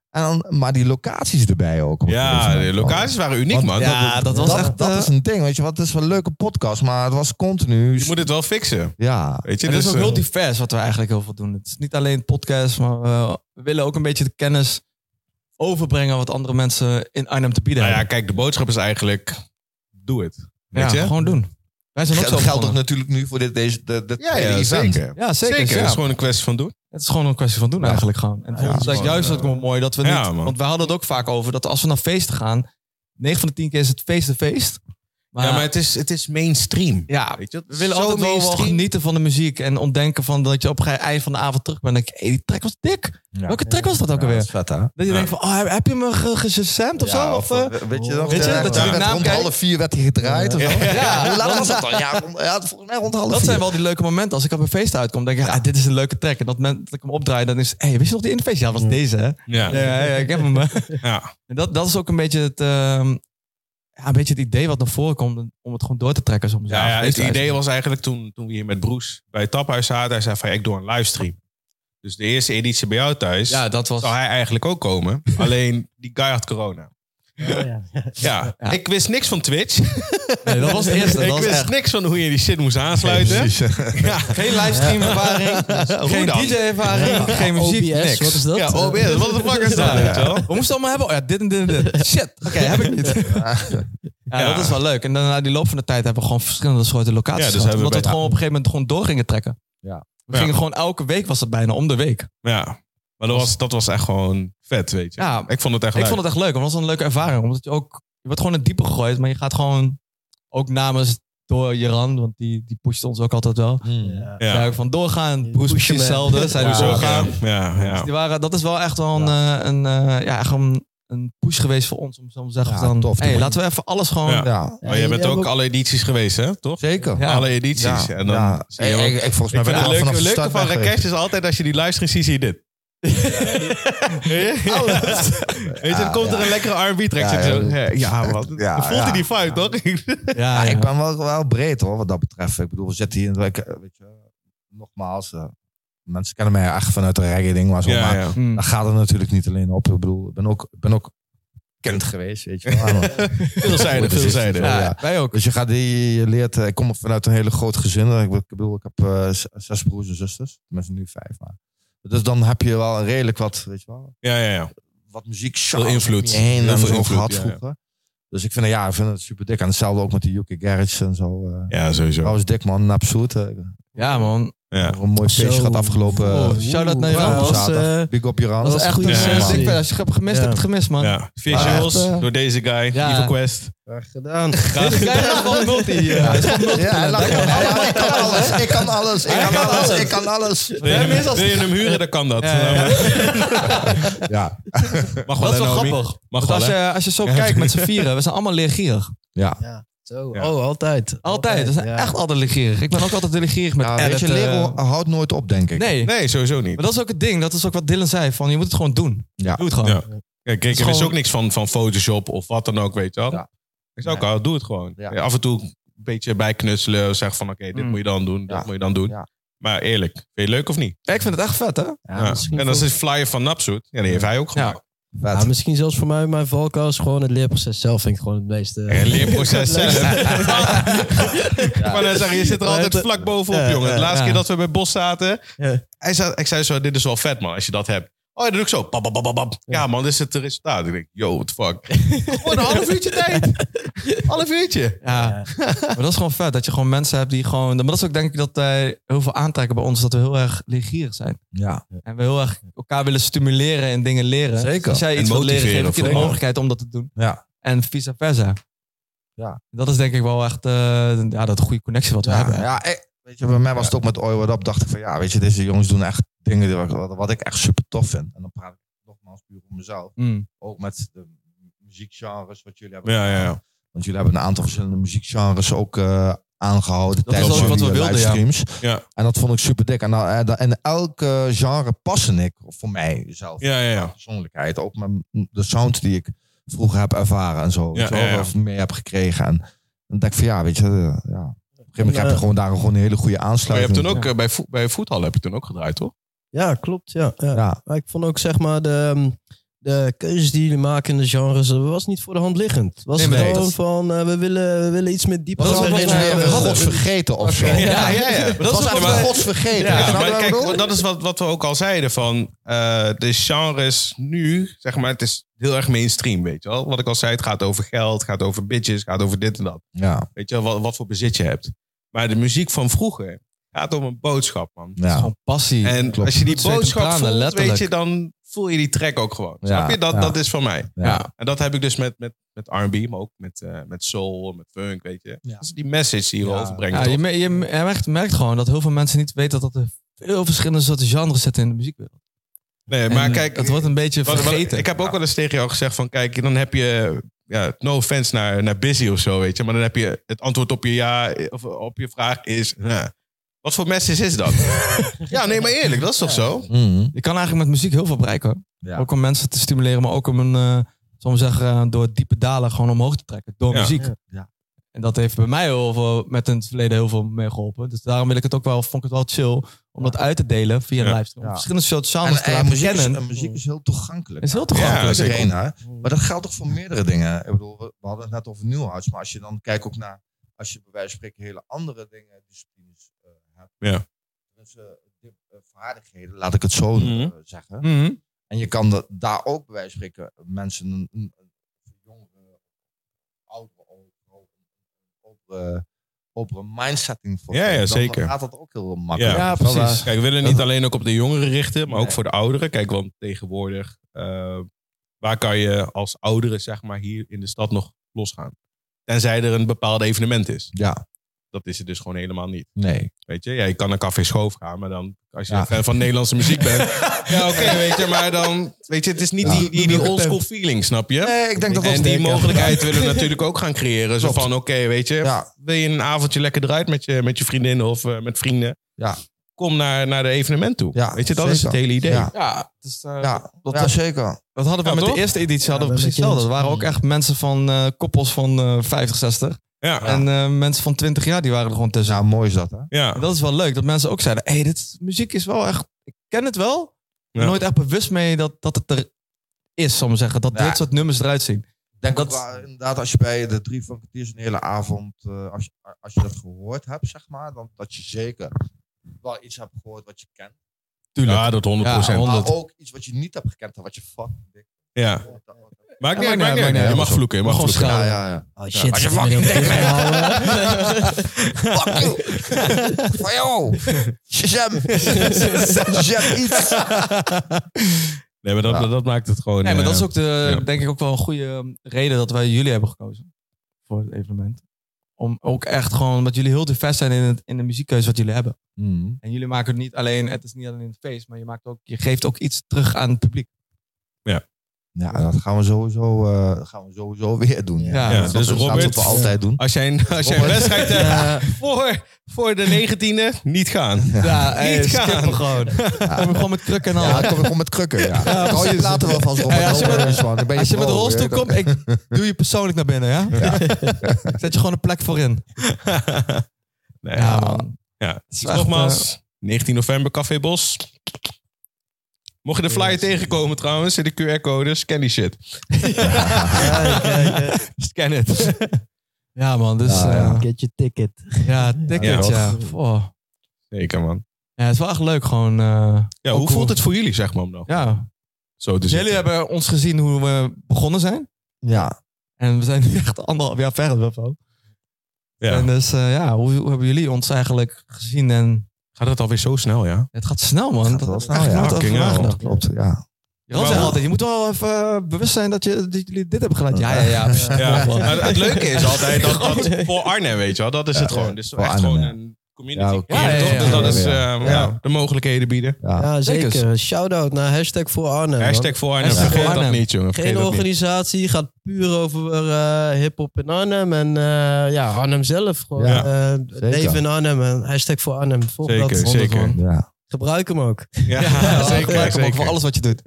C: En dan, maar die locaties erbij ook. om het te
B: Ja,
C: doen.
B: de locaties waren uniek,
C: Want-
B: man.
E: Ja,
B: Dat-
E: dat was
C: Dat,
E: echt...
C: dat
E: eh,
C: is een ding, weet je wat. Het is wel een leuke podcast, maar het was continu...
B: Je moet het wel fixen.
C: Ja,
B: Weet je,
E: Het is
B: dus,
E: ook
B: eh,
E: heel divers wat we eigenlijk heel veel doen. Het is niet alleen podcast, maar eh, we willen ook een beetje de kennis overbrengen wat andere mensen in Arnhem te bieden
B: Nou ja,
E: hebben.
B: kijk, de boodschap is eigenlijk... Doe het. Weet
E: ja,
B: je?
E: gewoon doen. Wij zijn ook
C: dat
E: zo
C: geldt ook
E: begonnen.
C: natuurlijk nu voor dit, deze, de, de
B: Ja,
C: tweede
B: ja,
C: event.
B: zeker.
E: Ja, zeker.
B: Zeker,
E: ja.
B: het is gewoon een kwestie van doen.
E: Het is gewoon een kwestie van doen
C: Ja.
E: eigenlijk gewoon. En volgens mij
B: het is
E: juist
B: gewoon,
E: ook wel mooi dat we niet...
B: ja, man.
E: want we hadden het ook vaak over dat als we naar feesten gaan... 9 van de 10 keer is het feest de feest. Maar ja,
B: ja, maar het is, het is mainstream. Weet je,
E: we willen altijd wel, wel genieten van de muziek. En ontdenken van dat je op het eind van de avond terug bent. En denk je, hey, die track was dik.
C: Ja.
E: Welke track was dat ook
C: Ja, dat
E: alweer?
C: is vet, hè?
E: Dat je
B: Ja.
E: denkt van, oh, heb je me ge- gesamd of zo? Of, eh,
C: weet je nog,
E: Weet je,
C: eh,
E: dat
C: daar
E: je
C: werd
E: naam
C: rond
E: kijkt?
C: half vier werd hij gedraaid of zo?
E: Ja.
C: Hoe laat was dat dan? Ja, rond- ja, volgens mij rond half
E: Dat
C: vier.
E: zijn wel die leuke momenten. Als ik op een feest uitkom, denk ik, ah, dit is een leuke track. En dat moment dat ik hem opdraai, dan is, hé, hey, wist je nog die interface? Ja, dat was deze, hè?
B: Ja. Ja.
E: Ja, ja, ik heb hem. En dat, dat is ook een beetje het, ehm, ja, een beetje het idee wat naar voren komt, om het gewoon door te trekken. Soms
B: Ja, ja, het idee was eigenlijk toen, toen we hier met Broes bij het taphuis zaten. Hij zei van, ik doe een livestream. Dus de eerste editie bij jou thuis
E: Ja, dat was...
B: zou hij eigenlijk ook komen. Alleen die guy had corona.
D: Oh, ja.
B: Ja,
E: Ja.
B: ik wist niks van Twitch.
E: Nee, dat was het eerste.
B: ik
E: Dat was
B: wist
E: echt.
B: niks van hoe je die shit moest aansluiten. ja,
E: Geen livestream-ervaring, geen
B: dan?
E: DJ-ervaring, geen muziek,
D: OBS,
E: niks.
D: oh, wat is dat?
B: ja OBS, wat de fuck is dat?
E: Ja.
B: weet je wel?
E: We moesten allemaal hebben, oh ja, dit en dit en dit. Shit, oké, heb ik niet. Ja,
B: Ja.
E: dat is wel leuk. En dan na die loop van de tijd hebben we gewoon verschillende soorten locaties
B: Ja, dus
E: gehad.
B: hebben we
E: omdat we het
B: bij-
E: gewoon op een gegeven moment gewoon door gingen trekken.
C: Ja.
E: We
B: Ja.
E: gingen gewoon elke week was het bijna, om de week.
B: Ja, maar dat was, dat was echt gewoon vet, weet je.
E: Ja,
B: Ik vond het echt
E: ik
B: leuk.
E: vond het echt leuk. Want het was een leuke ervaring. Omdat je ook, je wordt gewoon in het diepe gegooid. Maar je gaat gewoon, ook namens door Jeran, want die, die pusht ons ook altijd wel.
D: Ja.
B: Ja.
E: Daar ook van doorgaan.
D: Die
E: Broes
D: pushen
E: precies
D: me.
E: hetzelfde. Zij
C: Ja.
E: dus doorgaan.
B: Ja, ja.
E: Dus die waren, dat is wel echt wel een, eh, een, eh, ja, echt een, een push geweest voor ons. Om zo te zeggen
C: Ja,
E: van,
C: tof.
E: hey, laten we even alles gewoon...
B: Ja.
C: Ja,
B: Maar jij bent
D: hebt
B: ook alle edities geweest, hè? Toch?
C: zeker.
E: Ja.
B: Alle edities.
C: Ja,
B: En dan
C: ja.
B: zie je ook-
C: Ik- ik- ik- volgens mij
B: Ik
C: ben
B: vind
C: ik
B: het
C: al
B: leuke,
C: vanaf de
B: leuke
C: start
B: van
C: weg
B: Rekesh is altijd als je die livestream ziet, zie je dit. Alles. Weet je, dan komt er een lekkere R&B track.
C: Ja,
B: Ja,
C: ja.
B: ja, ja man.
C: Ja,
B: dan voelt
C: ja.
B: hij die vibe, toch?
E: Ja, ja.
C: Ja, ik ben wel, wel breed hoor, wat dat betreft. Ik bedoel, we zitten hier, ik, eh, weet je, nogmaals, eh, mensen kennen mij echt vanuit de reggae ding, maar zo. maar
B: Ja, ja.
E: Mm.
C: Daar gaat het natuurlijk niet alleen op. Ik bedoel, ik ben ook, ik ben ook kind geweest, weet je wel.
B: Veelzijdig, veelzijdig.
C: Ja,
E: Ja,
C: ja.
E: wij ook.
C: Dus je gaat die, je leert, eh, ik kom vanuit een hele groot gezin. Ik bedoel, ik heb eh, z- zes broers en zusters. Mensen nu vijf, maar. Dus dan heb je wel een redelijk wat, weet je wel,
B: Ja, ja, ja.
C: wat muziek
B: Veel invloed.
C: Heen
B: Heel
C: en
B: veel
C: zo
B: invloed,
C: gehad
B: ja, ja.
C: vroeger. Dus ik vind, het- ja, ik vind het super dik. En hetzelfde ook met die UK Garage en zo. eh
B: Ja, sowieso.
C: Trouwens, dik man, absoluut. Een
E: Ja, man.
B: Ja.
C: mooi feestje
D: Zo.
C: gehad afgelopen.
E: Oh,
C: eh,
E: shout-out naar
D: Ja,
E: Jeroen.
C: Ja,
D: dat was,
C: zaterdag.
D: eh,
C: Big op Joran.
D: dat was echt
B: Ja,
D: een
B: man.
E: Ik
D: sessie.
E: ben- als je hebt gemist,
D: Ja.
E: heb je het gemist, man.
B: ja. Visuals
E: echt, eh,
B: door deze guy,
E: ja.
B: Evil Quest.
D: Graag gedaan.
E: Deze guy is gewoon multi. eh, is gewoon multi.
C: Ja, hij lacht gewoon. Ja, maar ik kan alles. Ik kan alles. Ik kan alles. Ik kan alles.
B: Wil je,
E: Ja,
B: hem,
E: meestal-
B: wil je hem huren, dan kan dat.
E: Ja, ja.
C: Ja.
E: Dat
B: Mag wel,
E: is wel
B: hè, homie?
E: grappig.
B: Mag
E: Want
B: nou wel,
E: als
B: hè?
E: je, als je zo kijkt met z'n vieren, we zijn allemaal leergierig.
C: Ja.
D: Ja, zo.
B: Ja.
D: Oh, altijd.
E: Altijd. Dat is
D: ja.
E: echt altijd legerig. Ik ben ook altijd legerig met
C: Ja, weet je,
E: editen.
C: leren houdt nooit op, denk ik.
E: Nee,
B: Nee, sowieso niet.
E: maar dat is ook het ding. Dat is ook wat Dylan zei. Van, je moet het gewoon doen.
C: Ja.
E: Doe het gewoon.
B: Ja. Kijk, kijk,
E: is
B: er is
E: gewoon-
B: ook niks van, van Photoshop of wat dan ook, weet je wel.
C: Ja.
B: Ik zou ook
C: Nee.
B: al, doe het gewoon.
C: Ja.
B: Af en toe een beetje bijknutselen. Zeg van, oké, dit
E: Mm.
B: moet je dan doen, dat
C: Ja.
B: moet je dan doen.
C: Ja.
B: Maar eerlijk, vind je het leuk of niet?
E: Ja, ik vind het echt vet, hè?
D: Ja,
B: Ja.
D: misschien
B: En dat is
D: voor-
B: het flyer van Napsoet. Ja, die heeft hij ook
E: Ja.
B: gemaakt.
D: ja, misschien zelfs voor mij, mijn valkuil is gewoon het leerproces zelf. Vind ik gewoon het meeste.
B: En het leerproces zelf.
C: Ja.
B: Maar dan zeg je, je zit er
D: Maar
B: altijd
D: het-
B: vlak bovenop,
D: Ja,
B: jongen. De
D: ja,
B: laatste
E: ja.
B: keer dat we bij Bos zaten,
D: Ja.
B: hij zei, ik zei zo, dit is wel vet, man, als je dat hebt. Oh, ja, dat doe ik zo. Bap, bap, bap, bap, bap. Ja, man, dit is het resultaat. Ik denk, yo, what the fuck. Gewoon een half uurtje tijd. Half uurtje.
E: Ja. maar dat is gewoon vet. Dat je gewoon mensen hebt die gewoon... Maar dat is ook denk ik dat wij heel veel aantrekken bij ons. Dat we heel erg leergierig zijn.
C: Ja.
E: En we heel erg elkaar willen stimuleren en dingen leren.
C: Zeker.
E: Dus als jij
B: En
E: iets wil leren,
B: motiveren
E: geef ik je de
B: vooral.
E: mogelijkheid om dat te doen.
C: Ja.
E: En vice versa.
C: Ja.
E: Dat is denk ik wel echt eh, ja, dat goede connectie wat we
C: Ja,
E: hebben.
C: ja ik- weet je, bij mij was het ook met Oi What Up, dacht ik van ja, weet je, deze jongens doen echt dingen die, wat, wat ik echt super tof vind. En dan praat ik nogmaals puur om mezelf.
E: Mm.
C: Ook met de muziekgenres wat jullie hebben.
B: Ja, ja,
C: gedaan.
B: ja.
C: Want jullie hebben een aantal verschillende muziekgenres ook eh, aangehouden
E: Dat is
C: tijdens
E: ook wat
C: jullie
E: we
C: eh,
E: wilden, ja.
C: livestreams.
B: Ja.
C: En dat vond ik super dik. En, dan, eh, dan- en elk eh, genre paste ik, voor mij zelf.
B: Ja, ja, ja.
C: persoonlijkheid. Ook met de sound die ik vroeger heb ervaren en zo.
B: Ja,
C: weet je wel,
B: ja, ja.
C: Of mee heb gekregen. En dan denk ik van ja, weet je. eh, Ja. Op een gegeven moment heb je
D: eh,
C: gewoon daar gewoon een hele goede
B: Maar je hebt
C: aansluiting.
B: toen ook, eh, bij, vo bij voetbal heb je toen ook gedraaid, toch?
D: Ja, klopt. Ja, ja.
B: eh,
C: Ja.
D: Maar ik vond ook zeg maar de, ehm, de keuzes die jullie maken in de genres, dat was niet voor de hand liggend. Het was
E: Nee, maar nee,
D: gewoon
E: dat-
D: van, eh, we, willen, we willen iets meer diepte.
C: Dat was
E: Dat
C: een
E: was
C: beetje
E: wat wij
C: weer
E: wilden.
C: gods vergeten of zo.
B: Ja, ja, ja.
C: Dat was
E: ook
C: echt
E: wat wij-
C: gods vergeten.
B: Ja,
C: Weet je nou
B: maar
C: wat ik bedoel?
B: kijk, dat is wat, wat we ook al zeiden van eh, de genres nu, zeg maar, het is heel erg mainstream, weet je wel. Wat ik al zei, het gaat over geld, het gaat over bitches, het gaat over dit en dat.
C: Ja,
B: Weet je wel, wat, wat voor bezit je hebt. Maar de muziek van vroeger gaat om een boodschap, man.
E: Het is
C: ja.
E: gewoon passie.
B: En
C: klopt.
B: als je die
E: Bloed, zweet en
B: boodschap
E: tranen,
B: voelt, weet
E: letterlijk.
B: je, dan voel je die track ook gewoon.
C: Ja,
B: Snap je? Dat,
C: ja.
B: dat is van mij.
C: Ja.
B: En dat heb ik dus met, met, met R&B, maar ook met, eh, met soul, met funk, weet je.
E: Ja.
B: Dat is die message die we
C: Ja.
B: overbrengen.
E: Ja,
B: toch?
E: je, me- je me- je merkt, merkt gewoon dat heel veel mensen niet weten dat er veel verschillende soorten genres zitten in de muziekwereld.
B: nee, maar
E: En eh,
B: kijk,
E: het wordt een beetje
B: Wat- wat-
E: vergeten.
B: ik heb ook wel eens tegen jou gezegd van, kijk, dan heb je, ja, no offense naar, naar busy of zo, weet je. Maar dan heb je, het antwoord op je ja, of op je vraag is, ja. wat voor message is dat? ja, nee, maar eerlijk, dat is toch zo?
C: Mhm.
E: Je kan eigenlijk met muziek heel veel bereiken. hoor.
C: Ja.
E: Ook om mensen te stimuleren, maar ook om een, eh zal ik maar zeggen, eh, door diepe dalen gewoon omhoog te trekken. Door
B: Ja.
E: muziek.
D: Ja.
C: Ja.
E: En dat heeft bij mij heel veel, met in het verleden heel veel mee geholpen. Dus daarom wil ik het ook wel, vond ik het wel chill om dat uit te delen via een
B: Ja.
E: livestream. Om
C: Ja.
E: Verschillende soort
C: En,
E: genres te
C: en
E: laten
C: muziek, is,
E: kennen.
C: en muziek is heel toegankelijk.
E: is heel
B: Ja,
E: toegankelijk.
B: zeker.
C: iedereen, hè? Maar dat geldt toch voor meerdere dingen. Ik bedoel, we, we hadden het net over nieuwhouds, maar als je dan kijkt ook naar, als je bij wijze van spreken hele andere dingen, disciplines eh, hebt.
B: Ja.
C: Dus eh, di- eh, vaardigheden, laat ik het zo eh,
B: Mhm.
C: zeggen.
E: Mhm.
C: En je kan dat, daar ook bij wijze van spreken mensen, een- een- eh, een jongeren, ouderen ook, ook een opere, opere mindsetting voor.
B: Ja, ja,
C: geven. Dan
B: zeker.
C: gaat dat ook heel makkelijk.
E: Ja,
C: Weet je wel,
E: precies.
B: Kijk, we willen niet alleen ook op de jongeren richten, maar ook
C: Nee.
B: voor de ouderen. Kijk, want tegenwoordig, eh, waar kan je als ouderen, zeg maar, hier in de stad nog losgaan? Tenzij er een bepaald evenement is.
C: Ja,
B: Dat is het dus gewoon helemaal niet.
C: nee.
B: Weet je, ja, je kan naar Café Schoof gaan, maar dan, als je
C: Ja.
B: een fan van Nederlandse muziek bent. ja, oké, weet je, maar dan, weet je, het is niet
C: Ja.
B: die, die, die oldschool feeling, snap je?
C: Nee, ik denk dat dat
B: en die
C: zeker-
B: mogelijkheid willen we natuurlijk ook gaan creëren. Zo
C: Klopt.
B: van, oké, weet je,
C: Ja,
B: wil je een avondje lekker eruit met je, met je vriendin of eh, met vrienden?
C: Ja.
B: Kom naar, naar de evenement toe.
C: Ja,
B: weet je, dat is het
C: zeker.
B: hele idee.
C: Ja.
E: Ja, dus, eh,
C: ja,
E: dat-
C: ja, zeker.
E: Dat hadden we
B: Ja,
E: met
B: toch?
E: de eerste editie hadden we
D: Ja, dat
E: precies
D: ben ik
E: hetzelfde. Er waren ook
D: eens.
E: echt mensen van eh, koppels van eh 50, 60.
B: Ja, ja.
E: En eh, mensen van 20 jaar die waren er gewoon tussen.
C: Nou, mooi is dat, hè?
E: En dat is wel leuk. Dat mensen ook zeiden, hey, dit is- muziek is wel echt... Ik ken het wel. Ik ben
B: Ja.
E: nooit echt bewust mee dat, dat het er is, zal ik maar zeggen. Dat
C: Ja.
E: dit soort nummers eruit zien.
C: denk
E: Dat-
C: dat inderdaad, als je bij de drie funketeers een hele avond, eh, als, je, als je dat gehoord hebt, zeg maar, dan dat je zeker wel iets hebt gehoord wat je kent.
E: Tuurlijk.
B: dat
E: Ja,
B: 100%. Ja,
E: hond-
C: Maar
E: Honderd.
C: ook iets wat je niet hebt gekend en wat je fucking dik gehoord hebt.
B: Maakt niet
E: Ja,
B: uit,
E: maakt niet uit, maakt
B: maakt niet uit.
E: niet uit.
B: Je mag vloeken, je mag
E: Gewoon
B: vloeken.
E: schaam.
C: Ja, ja, ja.
D: Oh
C: Ja,
D: shit.
C: als je
D: ik ben
C: fucking
D: heel
C: dik
D: dik, eh. ouwe.
C: Fuck you! Van jou! Shazam! Shazam iets!
B: Nee, maar dat,
C: Ja.
B: dat maakt het gewoon...
E: Nee, maar
B: eh,
E: dat is ook de,
B: Ja.
E: denk ik ook wel een goede eh, reden dat wij jullie hebben gekozen. Voor het evenement. Om ook echt gewoon, omdat jullie heel divers zijn in, het, in de muziekkeuze wat jullie hebben.
C: Mm.
E: En jullie maken het niet alleen, het is niet alleen een feest, maar je, maakt ook, je geeft ook iets terug aan het publiek.
C: Ja, dat gaan we sowieso, eh, gaan we sowieso weer doen.
E: Ja,
B: Ja,
C: dat
B: dus
C: is dat
B: Robert-
C: wat we altijd doen.
B: Als jij een, als jij een
C: Robert.
B: wedstrijd hebt voor, voor de negentiende, niet gaan.
E: Ja, eh,
B: Niet gaan.
E: skip hem gewoon. Kom je gewoon met kruk en al.
C: Ja, ik kom, ik kom met krukken. Ja. ik hou je later wel van Robert.
E: Nou. Ja, als je
C: Robert
E: met-
C: is man, dan ben
E: Als je met
C: pro,
E: een rolstoel
C: weet je.
E: komt, ik doe je persoonlijk naar binnen, ja? Ik Zet je gewoon een plek voor in.
B: Nee,
E: Ja, man.
B: Ja.
E: Het is
B: Dus
E: echt, eh,
B: nogmaals, 19 november, Café Bos. Mocht je de flyer tegenkomen trouwens, in de QR-code, scan die shit.
D: eh,
B: Scan het.
E: eh, ja, man. Dus
C: Ja,
E: ja,
C: ja.
D: Get your ticket.
E: ja ticket,
B: Ja,
E: ja.
D: toch.
E: Oh.
B: Zeker man.
E: Ja, het is wel echt leuk gewoon. eh,
B: Ja,
E: Ook
B: hoe
E: cool.
B: voelt het voor jullie, zeg maar, om dan
E: ja.
B: zo te
E: Dus
B: zitten?
E: jullie hebben ons gezien hoe we begonnen zijn.
C: Ja,
E: En we zijn nu echt anderhalf jaar verder of zo.
B: Ja.
E: En dus eh, ja, hoe, hoe hebben jullie ons eigenlijk gezien? En
B: Gaat het alweer zo snel, ja?
E: het gaat snel, man. Dat
C: gaat wel
E: heb ik
C: snel,
E: eigenlijk
C: ja.
E: nooit over
B: Fucking hell.
E: nagedacht.
C: dat klopt. Ja.
E: Jan zegt altijd, je moet wel even eh, bewust zijn dat, je, dat jullie dit hebben gedaan. Ja, ja, ja.
B: ja. Maar het leuke is altijd dat, dat voor Arnhem, weet je wel, dat is het gewoon. Dus
C: voor
B: echt
C: Arnhem,
B: gewoon
C: ja.
B: een community.
C: Ja,
B: Ja,
C: oké.
E: Ja, ja,
B: toch?
E: ja,
B: Dus dat
C: ja,
B: is
C: ja.
B: ehm,
C: Ja.
B: ja, de mogelijkheden bieden.
C: Ja.
D: Ja,
E: Zeker.
D: zeker. Shout-out naar hashtag voor Arnhem. man.
B: Ah, Hashtag voor Arnhem,
E: Hashtag
B: vergeet
E: voor
B: dat
E: Arnhem.
B: niet, jongen. Vergeet
D: Geen
B: dat niet.
D: organisatie, gaat puur over eh hip-hop in Arnhem. En eh, ja, Arnhem zelf. Gewoon,
C: Ja,
D: eh,
C: zeker.
D: leven in Arnhem. En hashtag voor Arnhem. Volg
B: Zeker,
D: dat.
B: zeker.
C: Ja.
D: Gebruik hem ook.
B: Ja,
E: Zeker,
B: zeker,
E: Ook voor
B: zeker.
E: alles wat je doet.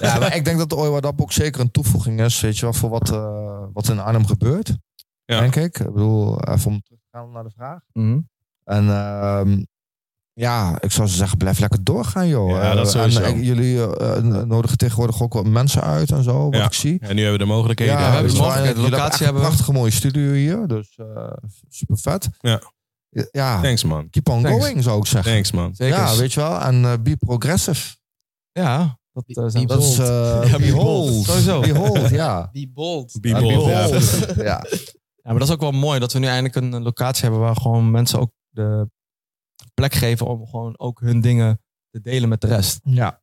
C: ja, maar ik denk dat de OIWADAP ook zeker een toevoeging is, weet je wel, voor wat, eh, wat in Arnhem gebeurt.
B: Ja.
C: Denk ik. Ik bedoel, even om terug te gaan naar de vraag. En ehm, ja, ik zou zeggen, blijf lekker doorgaan, joh.
B: Ja, dat
C: Eh,
B: sowieso.
C: En, eh, jullie eh, eh, nodigen tegenwoordig ook wat mensen uit en zo, wat
B: Ja.
C: ik zie.
B: En nu hebben we de mogelijkheden.
C: Ja,
E: we hebben
C: dus
E: de mogelijkheid.
C: jullie
E: De
C: echt
E: locatie hebben
C: Een
E: we.
C: prachtige mooie studio hier, dus super vet.
B: Ja.
C: Ja,
B: Thanks, man.
C: keep on
E: Thanks.
C: going, zou ik zeggen.
B: Thanks, man.
E: Zeker.
C: Ja, weet je wel. En eh, be progressive.
E: Ja, dat eh, zijn
C: Dat is eh
E: Ja, be bold. Sowieso.
C: Behold, ja.
D: Die bold.
B: Be
C: Ja,
B: bold, ja.
C: bold. Ja.
E: Ja, maar dat is ook wel mooi dat we nu eindelijk een eh, locatie hebben waar gewoon mensen ook de plek geven om gewoon ook hun dingen te delen met de rest.
C: Ja.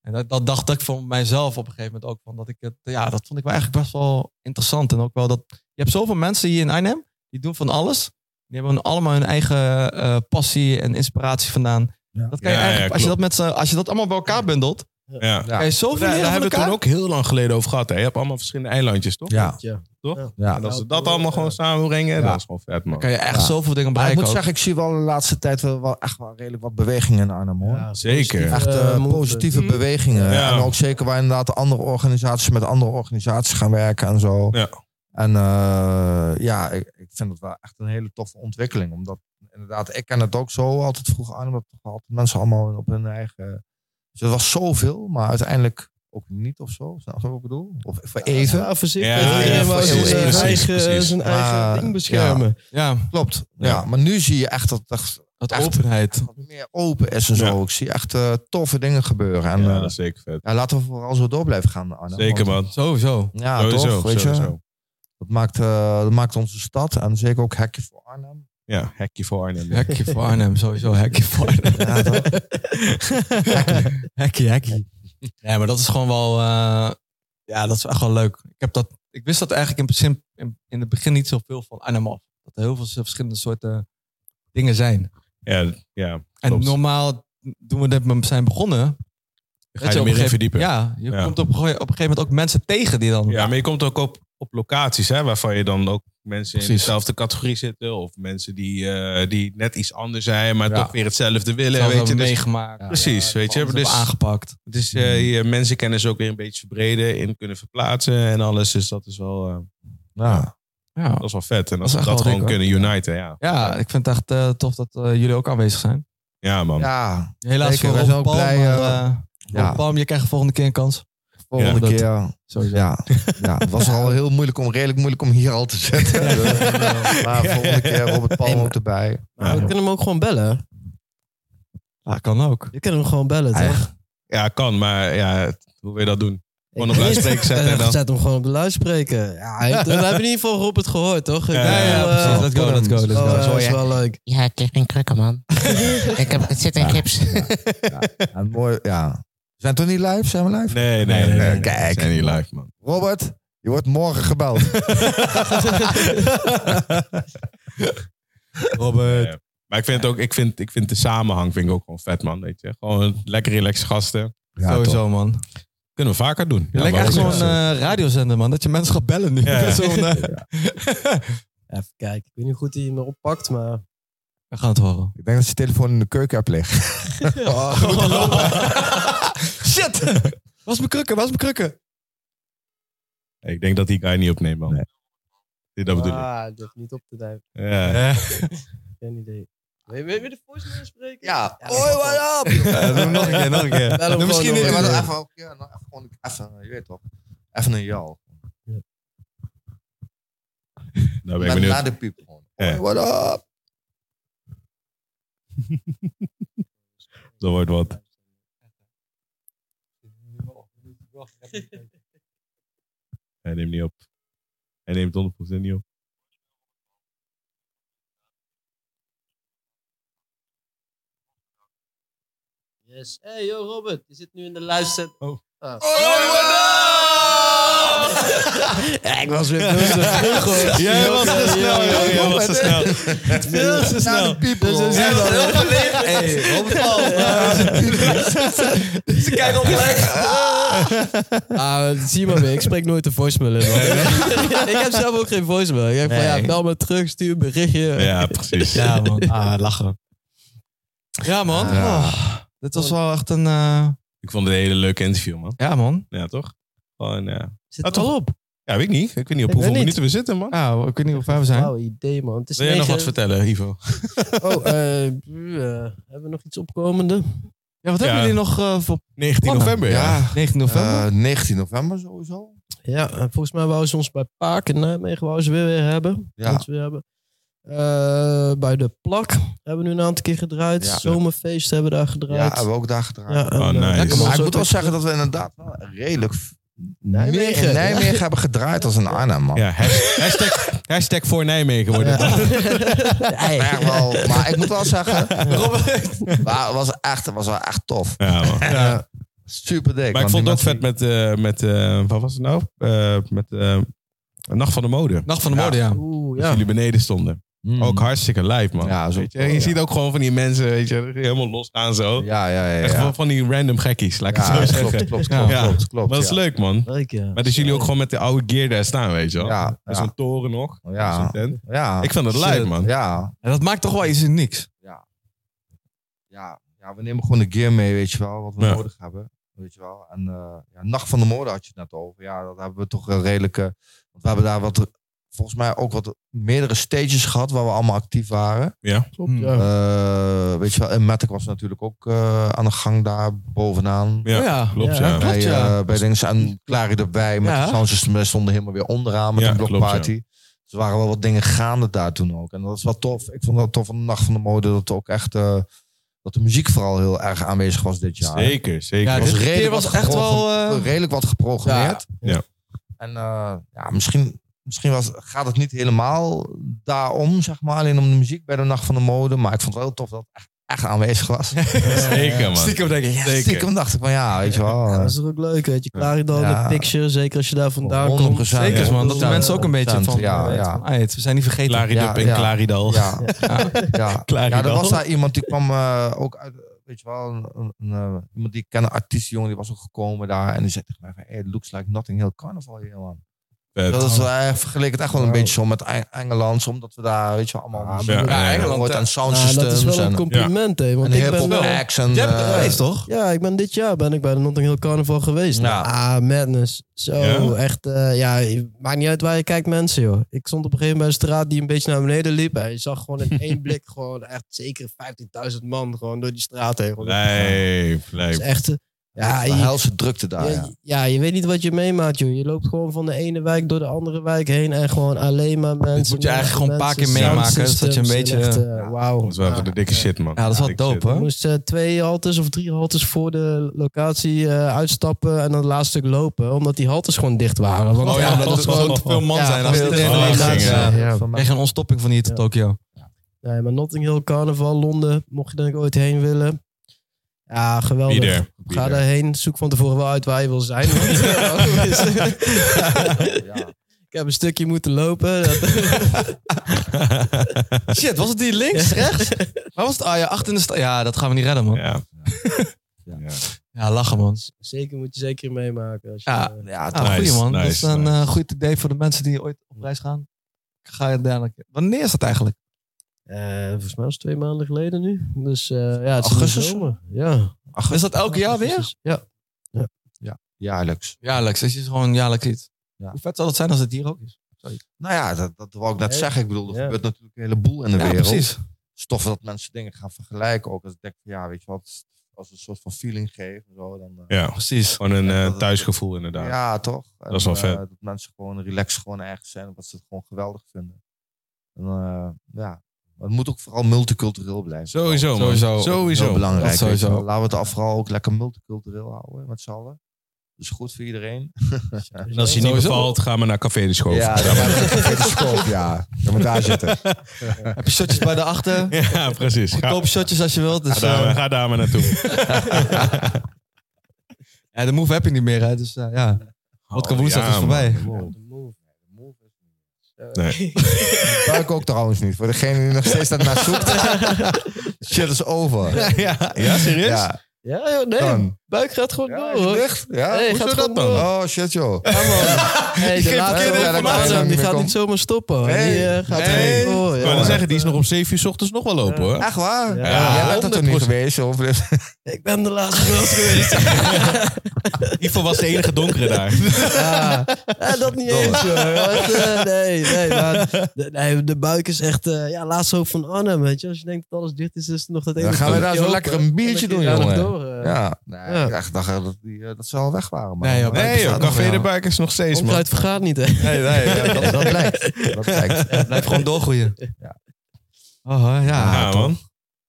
E: En dat, dat dacht ik voor mijzelf op een gegeven moment ook. Van dat, ik het, ja, dat vond ik wel eigenlijk best wel interessant. En ook wel dat je hebt zoveel mensen hier in Arnhem, die doen van alles. Die hebben allemaal hun eigen eh, passie en inspiratie vandaan.
C: Ja.
E: Dat kan je
B: Ja, ja,
E: eigenlijk, als, je dat met z'n- als je dat allemaal bij elkaar bundelt,
B: Ja.
E: kan je zoveel
B: Daar,
E: leren
B: daar
E: van
B: hebben we het
E: elkaar.
B: toen ook heel lang geleden over gehad. Hè? Je hebt allemaal verschillende eilandjes, toch?
C: Ja.
D: Ja.
B: En
C: ja.
B: als ze dat allemaal gewoon samenbrengen, dat is gewoon vet, man.
E: kan je echt
C: Ja.
E: zoveel dingen
C: Maar ik
E: bereiken.
C: moet
E: ook.
C: zeggen, ik zie wel de laatste tijd wel, wel echt wel redelijk wat bewegingen in Arnhem, hoor.
D: Ja,
B: Zeker.
C: Echt eh,
D: Eh, movement.
C: positieve bewegingen.
B: Ja.
C: En ook zeker waar inderdaad de andere organisaties met andere organisaties gaan werken en zo.
B: Ja.
C: En eh, ja, ik, ik vind het wel echt een hele toffe ontwikkeling. Omdat inderdaad, ik ken het ook zo altijd vroeger aan. Omdat toch altijd mensen allemaal op hun eigen... Dus het was zoveel, maar uiteindelijk ook niet of zo. Snap je wat ik bedoel? Of voor even.
D: Ja, voorzichtig.
B: Ja, ja,
D: Iedereen wou zijn
C: precies,
D: eh,
C: precies,
D: eigen,
B: precies.
D: zijn eigen
C: Maar,
D: ding beschermen.
E: ja,
C: Klopt. Ja, maar nu zie je echt dat het
E: dat
C: Echt.
E: openheid.
C: meer open is en zo.
B: Ja.
C: Ik zie echt eh, toffe dingen gebeuren. En
B: Ja,
C: eh,
B: dat is zeker vet.
C: ja, laten we vooral zo door blijven gaan, Arne.
B: Zeker,
C: Want-
B: man.
E: Sowieso.
C: Ja,
B: Sowieso,
C: toch? Weet je?
B: sowieso.
C: Dat maakt, eh, dat maakt onze stad en zeker ook Hekje voor Arnhem.
B: Ja, hekje voor Arnhem.
E: Hekje voor Arnhem, sowieso. Hekje voor Arnhem.
C: Ja, toch?
E: Hekkie, hekkie. Ja, maar dat is gewoon wel... eh, ja, dat is echt wel leuk. Ik, heb dat, ik wist dat eigenlijk in, principe- in, in het begin niet zoveel van Arnhem af. Dat er heel veel verschillende soorten dingen zijn.
B: Ja, ja.
E: En
B: Klopt.
E: normaal, toen we dit met- zijn begonnen...
B: Ga
E: weet
B: je er
E: op een
B: meer in
E: gegeven-
B: verdiepen. Ja.
E: Ja, je
B: Ja.
E: komt op, een gege- op een gegeven moment ook mensen tegen die dan...
B: maar je komt ook op, op locaties, hè, waarvan je dan ook mensen in
E: Precies.
B: dezelfde categorie zitten. Of mensen die, eh, die net iets anders zijn, maar
C: Ja.
B: toch weer hetzelfde willen.
E: zelf
B: weet je,
E: hebben
B: dus
E: meegemaakt.
B: Precies, weet je,
E: alles
B: dus-
E: hebben aangepakt.
B: het is eh, je mensenkennis ook weer een beetje verbreden in kunnen verplaatsen en alles. Dus dat is wel, eh,
C: Ja.
E: Ja.
B: dat is wel vet. En
E: Dat is
B: als we
E: echt wel
B: dat gewoon
E: dik, hoor.
B: kunnen uniten, ja.
E: ja, ik vind het echt eh, tof dat eh, jullie ook aanwezig zijn.
B: Ja, man.
C: ja,
E: Helaas
C: Zeker,
E: voor
C: wij zijn ook
E: Robert Palm,
C: blij,
E: maar,
C: eh,
E: eh,
C: ja.
E: Robert Palm, je krijgt de volgende keer een kans.
C: volgende
E: Ja, dat-
C: keer.
E: Sowieso.
C: Ja. ja, het was al heel moeilijk om, redelijk moeilijk om hier al te zetten. maar volgende keer Robert Palm ook erbij.
D: Maar we kunnen hem ook gewoon bellen.
E: Ja, kan ook.
D: Je kunt hem gewoon bellen, toch?
C: Echt?
B: Ja, kan, maar ja, hoe wil je dat doen? Gewoon op
D: Ik-
B: luidspreker zetten en dan-
D: Zet hem gewoon op de luidspreker. Ja, hij- dan hebben we in ieder geval Robert gehoord, toch? Ik
B: Ja,
E: Ja,
D: bedoel,
E: ja,
D: eh,
E: precies. Let's go, let's go, let's
D: oh,
E: go.
D: eh,
E: Zo,
D: dat is
E: ja.
D: wel leuk.
F: Ja, ik lig in krukken, man. ik heb, het zit in gips.
C: Ja, mooi, ja. Zijn we toch niet live? Zijn we live?
B: Nee, nee, nee. nee, nee.
C: Kijk.
B: We zijn niet live, man.
C: Robert, je wordt morgen gebeld.
B: Robert. maar ik vind, het ook, ik, vind, ik vind de samenhang vind ik ook gewoon vet, man. Weet je? Gewoon lekker relaxed gasten.
C: Ja,
E: Sowieso, man.
B: Kunnen we vaker doen.
E: Ja, Lijkt
B: maar
E: echt
B: dat
E: zo'n
B: is-
E: eh, radiozender, man. Dat je mensen gaat bellen nu.
B: Ja.
E: Met zo'n, eh,
D: Even kijken. Ik weet niet hoe goed hij me oppakt, maar...
E: We gaan het horen.
C: Ik denk dat je telefoon in de keuken hebt liggen.
E: Oh, Shit! Was mijn krukken, was mijn krukken.
B: Ik denk dat die guy niet opneemt, man.
C: Nee.
B: Dit dat bedoel ik.
D: ah, ik durf niet op te duimen.
B: Ja.
D: Geen idee. Wil je, wil je de voicemail spreken?
F: Ja.
D: Hoi,
F: what up?
E: doe hem nog een keer, nog een keer.
D: Bel hem
E: Doe
D: gewoon
E: misschien
D: nog
E: niet.
D: een keer.
C: even, ja, nou, even, gewoon, even, je weet toch. Even een jal.
B: Nou ben ik
C: Na,
B: benieuwd.
C: na de piep gewoon.
B: Ja.
C: Hoi, what up?
B: Dat wordt wat. Hij neemt niet op. Hij neemt 100% niet op.
D: Yes. Hey, yo, Robert. Je zit nu in de luister...
B: Oh.
D: Ah.
F: Ja, ik was weer
B: Jij was te snel, joh. Jij was te snel. Veel te snel.
E: Hey, Robert Paul. Ze kijken op gelijk.
D: Ah, zie maar weer. Ik spreek nooit de voicemail in. man. ik heb zelf ook geen voicemail. Ik denk van, ja, bel me terug, stuur een berichtje.
B: Ja, precies.
E: Ja, man. Ah, lachen. Ja, man. Oh, dit was wel echt een... eh,
B: Ik vond het een hele leuke interview, man.
E: ja, man.
B: Ja, toch? Gewoon, ja.
D: Zit
B: Ah, toch?
E: op.
B: Ja, weet ik niet. Ik weet niet op
D: Ik
B: hoeveel
D: weet niet.
B: minuten we zitten, man.
E: Ah, ik weet niet hoe ver we zijn.
D: Wauw, idee, man. Het is
B: Wil jij nog
D: negen-
B: wat vertellen, Ivo?
D: Oh, eh, eh, hebben we nog iets opkomende?
E: Ja, wat hebben
B: Ja.
E: jullie nog eh, voor
B: 19
E: plannen?
B: november, Oh, ja.
E: 19 november.
C: Eh, 19 november sowieso.
D: Ja, eh, volgens mij wou ze ons bij Paak in Nijmegen wou ze weer, weer hebben.
C: Ja.
D: Ons weer hebben. Eh, bij de plak hebben we nu een aantal keer gedraaid.
C: Ja.
D: Zomerfeest hebben we daar
C: Ja,
D: gedraaid.
C: hebben we ook daar gedraaid.
D: en,
B: Oh,
D: eh,
B: nice.
D: lekker, man.
C: Maar ik
D: Zo-
C: moet wel zeggen dat we inderdaad wel redelijk f-
D: Nijmegen,
C: meer in
D: ja.
C: Nijmegen hebben gedraaid als in Arnhem, man.
B: Ja, has- hashtag, hashtag voor Nijmegen wordt het.
D: Hey.
C: Echt wel, maar ik moet wel zeggen, maar het was echt, was wel echt tof. eh,
B: Ja, man.
C: Super dik.
B: Maar ik vond het ook vet met, eh, met eh, wat was het nou? Eh, met eh, Nacht van de Mode.
E: Nacht van de Mode, ja.
D: Oeh,
B: Dat
D: ja.
B: jullie beneden stonden.
C: Mm.
B: Ook hartstikke live, man.
C: Ja, zo
B: Weet je, je
C: ja.
B: ziet ook gewoon van die mensen, weet je, helemaal losgaan zo.
C: Ja, ja, ja.
B: Echt
C: ja.
B: van, van die random gekkies, laat ik
C: Ja,
B: het zo
C: klopt,
B: zeggen.
C: klopt, klopt,
E: Ja.
C: klopt,
B: Ja.
C: klopt, klopt,
B: Maar dat is
C: ja.
B: leuk, man.
D: Leuk, ja.
B: Maar dus jullie ook gewoon met de oude gear daar staan, weet je wel.
C: Ja,
B: Met
C: ja,
B: zo'n toren nog.
C: ja,
B: Zo'n tent.
C: ja.
B: Ik vond het live, man.
C: Ja,
E: En dat maakt toch wel iets niks.
C: ja, ja, we nemen gewoon de gear mee, weet je wel, wat we
B: Ja.
C: nodig hebben. Weet je wel. En eh, ja, Nacht van de Moorden had je het net over. Ja, dat hebben we toch een redelijke. Want we hebben daar wat, volgens mij ook wat meerdere stages gehad waar we allemaal actief waren. Hmm.
D: Klopt, ja.
C: Eh, weet je wel, en Matic was natuurlijk ook eh, aan de gang daar bovenaan.
B: Ja,
E: Oh ja.
B: klopt,
D: Ja,
B: ja.
E: klopt.
C: bij,
E: ja.
C: eh, bij Dings en Clary erbij. Met
E: Ja.
C: de sound system, wij stonden helemaal weer onderaan met
B: Ja,
C: een
B: klopt,
C: blokparty. Dus er waren wel wat dingen gaande daar toen ook. En dat is wel tof. Ik vond dat tof van de Nacht van de Mode. Dat ook echt... eh, dat de muziek vooral heel erg aanwezig was dit jaar.
B: Zeker, zeker.
E: Ja,
C: Er was
E: dit keer
C: redelijk
E: was
C: wat
E: echt
C: geprogrammeerd-
E: wel, eh,
C: redelijk wat geprogrammeerd.
B: Ja. Ja.
C: En eh, ja, misschien, misschien was, gaat het niet helemaal daarom, zeg maar. Alleen om de muziek bij de Nacht van de Mode. Maar ik vond het wel heel tof dat het echt, echt aanwezig was.
B: Zeker, man.
E: denk ik.
B: Zeker.
C: Stiekem dacht ik van ja, weet je wel.
D: Ja,
C: eh,
D: dat is toch ook leuk, weet je. Klaar dan
C: Ja.
D: de picture, zeker als je daar vandaan komt.
C: 100%,
E: Zeker,
C: ja.
E: man. Dat de
D: Ja,
E: mensen ook een beetje van...
C: ja, ja.
E: van, ah, het- we zijn niet vergeten.
B: Claridup
C: Ja,
B: en
C: ja.
B: Claridal.
C: eh, Ja, ja. ja, er
B: Claridal.
C: was daar iemand die kwam eh, ook uit, weet je wel, een, een, eh, iemand die ik ken, een artiest jongen, die was ook gekomen daar. En die zei tegen mij van, hey, it looks like nothing heel carnival hier, man.
B: Vet.
C: Dat is wel, eh, vergelijk het echt wel een
D: Wow.
C: beetje zo met Eng- Engeland, omdat we daar, weet je wel, allemaal...
B: Ja, ja, ja.
E: Engeland,
C: wordt
E: hè.
C: aan sound
D: Nou, dat is
C: systems
D: wel
C: en,
D: een compliment, hè.
C: en
D: Want ik ben
C: hip-hop
D: wel...
C: acts en...
E: Jij bent er
C: eh,
E: geweest, toch?
D: Ja, ik ben dit jaar ben ik bij de Notting Hill Carnival geweest.
C: Ja.
D: Ah, madness. Zo,
B: Ja?
D: echt. eh, ja, maakt niet uit waar je kijkt, mensen, joh. Ik stond op een gegeven moment bij een straat die een beetje naar beneden liep. En je zag gewoon in één blik gewoon echt zeker 15.000 man gewoon door die straat heen. rollen.
B: Lijf, lijf.
D: Dat is echt... eh, Ja,
C: de
D: je,
C: helse drukte daar,
E: Ah,
D: je-
C: ja.
D: ja, je weet niet wat je meemaakt, joh. Je loopt gewoon van de ene wijk door de andere wijk heen en gewoon alleen maar mensen.
E: moet je eigenlijk
D: mensen,
E: gewoon een paar keer
D: mensen,
E: meemaken,
D: sound
E: zodat je een
D: systems en
E: beetje,
D: echt, eh, Wauw.
B: Dat is wel de dikke shit, man.
E: Ja, dat is wel
B: Dikke
E: dope,
B: shit.
E: hoor.
D: Ik moest eh, twee haltes of drie haltes voor de locatie eh, uitstappen en dan het laatste stuk lopen. Omdat die haltes gewoon dicht waren. Want,
E: Oh ja, omdat
D: dat
E: het
D: was
E: gewoon
D: gewoon...
E: te veel man
D: Ja,
E: zijn. Als
D: veel
E: iedereen
D: te
B: veel
E: alleen
B: man
E: gaat,
B: zijn,
E: ja.
D: ja.
C: Van mij-
E: Krijg je een ontstopping van hier tot
D: Ja.
E: Tokio.
D: Nee, maar Notting Hill Carnaval, Londen, mocht je denk ik ooit heen willen. Ja, geweldig.
B: Bieder.
D: Ga
B: Bieder.
D: daarheen, zoek van tevoren wel uit waar je wil zijn. want-
C: ja.
D: ik heb een stukje moeten lopen. Dat,
E: Shit, was het die links, rechts? Waar was het? Ah ja, achter in de stad. Ja, dat gaan we niet redden, man.
B: Ja.
C: Ja.
B: Ja.
E: Ja, lachen man.
D: Zeker moet je zeker meemaken. Als je,
E: Ja.
D: eh,
C: Ja,
E: Ah,
B: Nice,
E: goeie man. dat is
B: nice,
E: een
B: nice.
E: eh, goed idee voor de mensen die ooit op reis gaan. Ik ga je dadelijk. Wanneer is dat eigenlijk?
D: eh, volgens mij was het twee maanden geleden nu. Dus eh, ja, het is in de
C: Augustus?
D: zomer. Ja.
E: Is dat elk jaar weer?
D: Augustus. Ja.
C: jaarlijks.
E: Jaarlijks. Het is gewoon jaarlijks iets.
C: Ja.
E: Hoe vet zal het zijn als het hier ook is?
C: Nou ja, dat, dat wou ik net
D: Nee.
C: zeggen. Ik bedoel, er
D: Ja.
C: gebeurt natuurlijk een heleboel in de
E: Ja,
C: wereld.
E: precies.
C: Stof dat mensen dingen gaan vergelijken. Ook als ik denk, van, ja, weet je wat, als een soort van feeling geven. Zo, dan, eh,
B: Ja,
E: Precies.
B: gewoon een
C: Ja,
B: eh,
C: dat is-
B: thuisgevoel inderdaad.
C: Ja, toch?
B: Dat is wel
C: En,
B: vet.
C: eh, dat mensen gewoon relaxed gewoon ergens zijn, omdat ze het gewoon geweldig vinden. En, eh, ja, Maar het moet ook vooral multicultureel blijven.
B: Sowieso, man.
E: Sowieso.
B: Sowieso.
C: Heel belangrijk.
E: Dat
C: weet je
E: sowieso.
C: wel. Laten we het af vooral ook lekker multicultureel houden met z'n allen. Dat is goed voor iedereen.
B: En als je niet
E: Sowieso.
B: bevalt, ga maar naar Café de Schoof.
C: Ja, dan gaan we even de schop, ja. Gaan we daar zitten.
E: Heb je shotjes bij de achter?
B: Ja, precies. Ga,
E: Koop shotjes als je wilt. Dus,
B: ga daar, maar-
E: eh,
B: ga daar maar naartoe.
E: ja, de move heb je niet meer, hè? Dus eh, ja. Wodka woensdag
B: Oh, ja,
E: is
B: man.
E: voorbij.
D: De move. De move is niet.
B: Nee.
C: Gebruik ook trouwens niet. Voor degene die nog steeds daarnaar zoekt. Shit is over.
B: ja, ja, serieus?
C: Ja,
D: Ja, joh, nee.
C: dan.
D: Buik gaat gewoon
C: Ja,
D: door.
C: is
D: hoor.
C: het echt? Ja,
D: Nee,
C: hoezo
D: gaat
C: dat
D: gewoon
C: dan?
D: door.
C: Oh shit joh.
D: Ja, man. Hey, de laatste
C: kinderen
D: die
C: dat kan
D: gaat,
C: niet
D: die
C: meer
D: gaat
C: komen.
D: niet zomaar stoppen. hoor.
C: Nee.
D: Die eh, gaat
B: Nee.
D: gewoon door.
B: Ik
D: ja.
B: wou net zeggen, die is nog om 7 uur 's ochtends nog wel lopen hoor.
C: Echt waar?
D: Ja.
C: Jij bent er toch niet
B: 100%.
C: geweest? Of...
D: Ik ben de laatste wel geweest.
B: Ivo was de enige donkere daar.
D: Ja. Ja, dat niet eens, joh. Want, eh, nee, nee, maar de, nee, de buik is echt... eh, ja, laatste hoop van Arnhem, weet je. Als je denkt dat alles dicht is, is er nog dat ene...
C: Dan gaan we daar
D: plekje
C: zo
D: open.
C: lekker een biertje
D: Dan
C: doen,
D: kun je daar nog
C: jongen.
D: door, eh.
C: Ja. Nee,
D: Ja.
C: ik dacht echt dat, die, eh, dat ze al weg waren. Maar
E: Nee, joh,
B: Nee joh, Café de
C: buik.
B: Buik is nog steeds man.
D: Onkruid vergaat niet, hè.
E: Nee, nee. ja,
C: Dat, dat blijkt. Dat blijkt.
E: Blijf gewoon doorgroeien.
C: Ja.
E: Oh, hè, ja.
B: Ja man,
E: Ik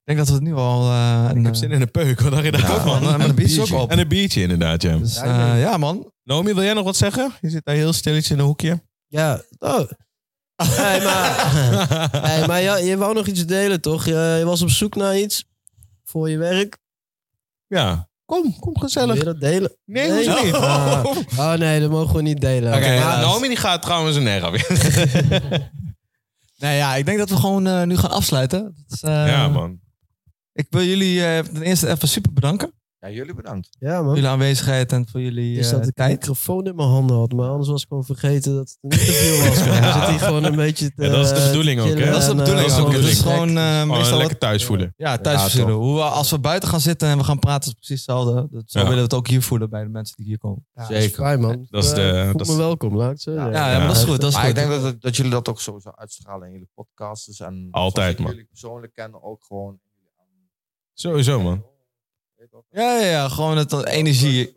E: denk dat we het nu al... eh, een,
B: ik heb zin in een peuk. Wat dacht je
C: Ja.
B: daarvan?
E: man. En een biertje ook op.
B: En een biertje inderdaad, ja.
E: Dus, eh, ja, man.
B: Naomi, wil jij nog wat zeggen? Je zit daar heel stilletjes in een hoekje.
D: Ja, oh. Hey, maar, hey, maar ja, je wou nog iets delen, toch? Je, je was op zoek naar iets voor je werk.
B: Ja, kom, kom
D: Wil
B: gezellig.
D: je dat delen?
B: Nee, hoezo
D: Nee.
B: niet?
D: Ah.
B: Oké,
D: Oh nee, dat mogen we niet delen.
B: maar
D: Helaas.
B: eh, Naomi die gaat trouwens een erg weer.
E: Nou ja, ik denk dat we gewoon eh, nu gaan afsluiten. Dat is, eh,
B: Ja man.
E: Ik wil jullie eh, ten eerste even super bedanken.
C: Ja, jullie bedankt.
D: Ja,
E: Voor
D: man.
E: jullie aanwezigheid en voor jullie
D: Dus
E: eh,
D: dat ik een
E: tijd.
D: microfoon in mijn handen had, maar anders was ik gewoon vergeten dat het een interview was. man. We zitten hier gewoon een beetje te,
B: Ja, dat is de bedoeling ook, hè?
D: chillen
E: Dat is de
D: en, eh,
E: bedoeling.
B: dat is de
E: ook. Het is
B: bedoeling.
E: gewoon eh,
B: Gewoon
E: meestal
B: Oh, lekker thuis voelen.
E: Ja, thuisverzillen. Hoe we- als we buiten gaan zitten en we gaan praten, is het precies hetzelfde. Dat, zo
B: Ja.
E: willen we het ook hier voelen bij de mensen die hier komen.
D: Ja, dat is fijn, man.
B: Dat is de-
D: Eh, voel
B: dat is-
D: me welkom, laat ik het zo
E: Ja,
D: zeggen.
E: ja, maar dat is goed. Dat is
C: Maar
E: goed.
C: ik denk dat, het- dat jullie dat ook sowieso uitstralen in jullie podcasts. En
B: Altijd,
C: zoals ik
B: man.
C: jullie persoonlijk kennen ook gewoon.
B: Sowieso man.
C: Weet ook.
E: Ja, ja, ja, gewoon het dat energie.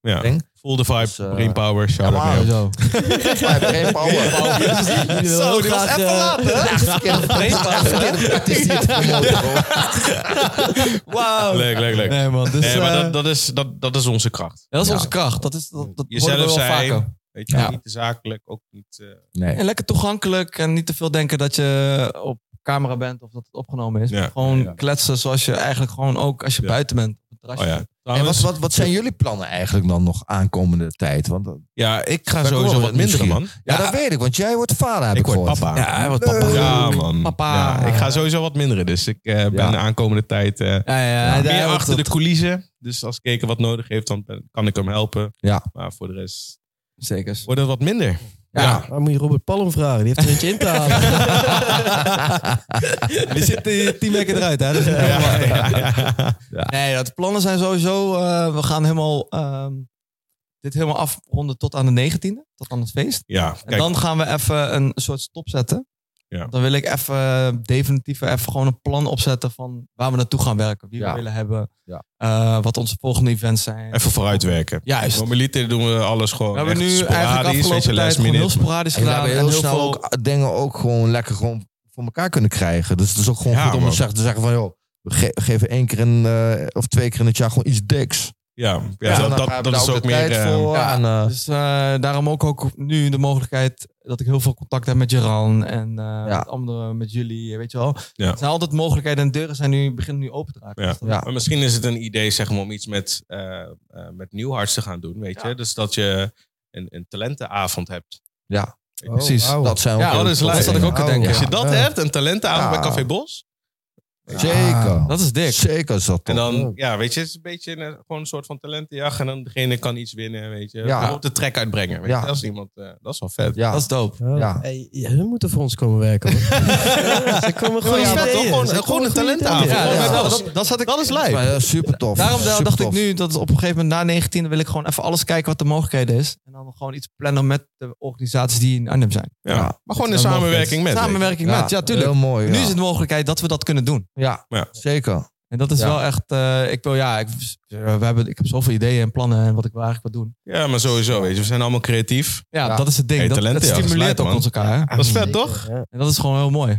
B: Ja.
C: Ding.
B: Voel de vibe,
C: Dus, eh,
B: brain power, shout out.
C: maar-
B: Leo.
E: Zo.
C: Maar geen power.
D: Jullie willen ook graag, eh,
E: Wauw.
B: Leuk, leuk, leuk.
E: Nee man, dus,
B: Nee, maar
E: eh,
B: dat, dat, is, dat, dat is onze kracht.
E: dat is
C: Ja.
E: onze kracht. Dat is dat, dat
B: Jezelf
E: worden we wel
B: zijn.
E: vaker.
B: Weet je,
E: Ja.
B: niet te zakelijk, ook niet... eh,
C: Nee.
E: En lekker toegankelijk en niet te veel denken dat je op camera bent of dat het opgenomen is.
B: Ja.
E: Maar Gewoon
C: Ja, ja.
E: kletsen zoals je eigenlijk gewoon ook als je
B: Ja.
E: buiten bent. Op het terrasje.
B: Oh ja.
C: En wat,
B: Trouwens,
C: wat, wat zijn jullie plannen eigenlijk dan nog aankomende tijd? Want, ja,
B: ja, ik ga
C: Daar
B: sowieso
C: komen we
B: wat minder,
C: misschien.
B: man.
C: dat weet ik, want jij wordt vader, heb
B: Ik
C: ik,
B: word
C: gehoord.
B: papa.
E: Ja, hij wordt papa.
B: Ja, man.
E: Papa.
B: Ja, ik ga sowieso wat minderen, dus ik eh, ben
C: Ja.
B: de aankomende tijd eh,
E: Ja, ja, ja,
B: meer
E: ja,
B: achter
E: dat-
B: de coulissen. Dus als Keken wat nodig heeft, dan ben- kan ik hem helpen.
C: Ja.
B: Maar voor de rest
E: Zeker.
B: wordt het wat minder.
C: Ja.
D: Dan moet je Robert Palm vragen. Die heeft er eentje in te halen.
E: We zitten tien weken eruit, hè? Dus
B: Ja, ja, ja.
E: Nee, dat de plannen zijn sowieso. eh, we gaan helemaal ehm, dit helemaal afronden tot aan de 19e, tot aan het feest.
B: Ja,
E: En
B: kijk,
E: dan gaan we even een soort stop zetten.
B: Ja.
E: Want Dan wil ik even definitief even gewoon een plan opzetten van waar we naartoe gaan werken, wie
C: Ja.
E: we willen hebben,
C: Ja.
E: eh, wat onze volgende events zijn.
B: even vooruitwerken.
E: Juist. Nou,
B: Normaliter doen we alles gewoon
E: we hebben
B: echt
E: nu eigenlijk
B: sporadisch, weet je,
E: afgelopen tijd
B: last
E: gewoon heel
B: minute.
E: sporadisch
C: En we
E: gedaan.
C: hebben
E: en
C: heel snel
E: veel-
C: ook dingen ook gewoon lekker gewoon voor elkaar kunnen krijgen. Dus het is ook gewoon
B: Ja,
C: goed om
B: man.
C: te zeggen, te zeggen van, joh, we ge- geven één keer in, eh, of twee keer in het jaar gewoon iets diks.
B: Ja, ja,
C: Dus dan
B: dat,
C: hebben
B: dat,
C: we
B: dat
C: daar
B: is ook
C: de
B: meer...
C: tijd
B: eh,
C: voor.
E: ja.
C: en, eh,
E: Dus eh, daarom ook, ook nu de mogelijkheid dat ik heel veel contact heb met Jeran en eh, met anderen, met jullie, weet je wel.
B: Ja.
E: Er zijn altijd mogelijkheden en deuren zijn nu, beginnen nu open te raken.
B: Ja.
E: Dus dat-
C: Ja.
B: Maar misschien is het een idee zeg maar, om iets met, eh eh, met Nieuwharts te gaan doen, weet je? Dus dat je een, een talentenavond hebt.
C: Ja.
B: Weet
D: Oh,
B: je?
E: Precies.
C: Dat zijn ook
E: Oh, Ja,
C: heel
E: oh, dat is
C: toffe
E: laatst had ik
C: dingen.
E: ook te denken.
B: Als je
C: Ja.
B: dat hebt, een talentenavond
C: Ja.
B: bij Café Bos.
C: Zeker.
E: Dat is dik.
C: Zeker is dat
B: Ah. En
C: top.
B: dan, ja, weet je, het is een beetje een, gewoon een soort van talentenjacht. En dan degene kan iets winnen, weet je.
C: Ja.
B: Op de trek uitbrengen, weet je.
C: Ja.
B: Dat is iemand, eh, dat is wel vet.
C: Ja.
E: Dat is dope.
C: Ja.
D: Hey, ja, hun moeten voor ons komen werken. hoor. Ze komen
B: Gewoon,
D: gewoon
B: vet, toch? gewoon,
D: Ze
B: gewoon
D: komen
B: een
D: goede
B: talenttafel.
D: ideeën.
E: Ja,
B: Gewoon
E: ja.
B: met alles.
E: Dat, dat zat ik
B: Dat is lijp.
C: Maar, eh, super tof.
E: Daarom da-
C: Super
E: dacht ik
C: tof.
E: nu dat op een gegeven moment na 19 wil ik gewoon even alles kijken wat de mogelijkheden is. En dan gewoon iets plannen met de organisaties die in Arnhem zijn.
B: Ja.
C: Ja.
B: Maar gewoon in
C: Dat is wel
B: samenwerking met.
E: Samenwerking met, ja tuurlijk.
C: Heel mooi.
E: Nu
C: ja.
E: is het de mogelijkheid dat we dat kunnen doen.
C: Ja,
B: Ja.
C: zeker.
E: En dat is
C: Ja.
E: wel echt, eh, ik wil ja, ik, eh, we hebben, ik heb zoveel ideeën en plannen en wat ik wil eigenlijk wil doen.
B: weet je. Ja, maar sowieso, weet je. We zijn allemaal creatief.
E: Ja,
C: Ja.
E: dat is het ding.
B: Hey,
E: dat,
B: talenten,
E: dat
B: ja, dat is
E: stimuleert
B: lijp,
E: ook ons
B: man.
E: elkaar. hè?
B: Dat is vet,
D: Zeker,
B: toch?
D: ja.
E: En dat is gewoon heel mooi.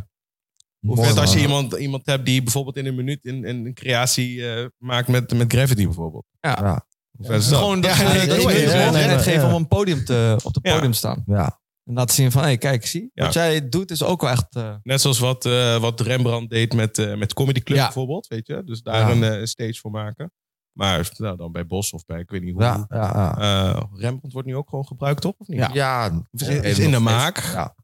B: Hoe
C: Mooi,
B: vet als je
C: man.
B: iemand, iemand hebt die bijvoorbeeld in een minuut een, een creatie eh, maakt met, met Gravity bijvoorbeeld.
E: Ja.
C: Ja.
B: Hoe vet is dat?
E: Gewoon dat,
B: Ja,
E: ze- dat
B: nee, doe
E: je
B: je.
E: mensen de
B: Ja,
E: mogelijkheid
D: nee,
E: geven
D: ja.
E: om een podium te, op het
B: Ja.
E: podium te staan.
C: Ja.
E: En laten zien van, hé, hey, kijk, zie.
B: Ja.
E: Wat jij doet is ook wel echt... eh,
B: Net zoals wat, eh, wat Rembrandt deed met, eh met Comedy Club
E: Ja.
B: bijvoorbeeld, weet je. Dus daar
C: Ja.
B: een eh, stage voor maken. Maar nou, dan bij Bos of bij, ik weet niet hoe.
C: Ja, ja, ja.
B: Eh, Rembrandt wordt nu ook gewoon gebruikt, toch? Of niet?
E: Ja.
B: Of is, is in de maak.
C: Ja.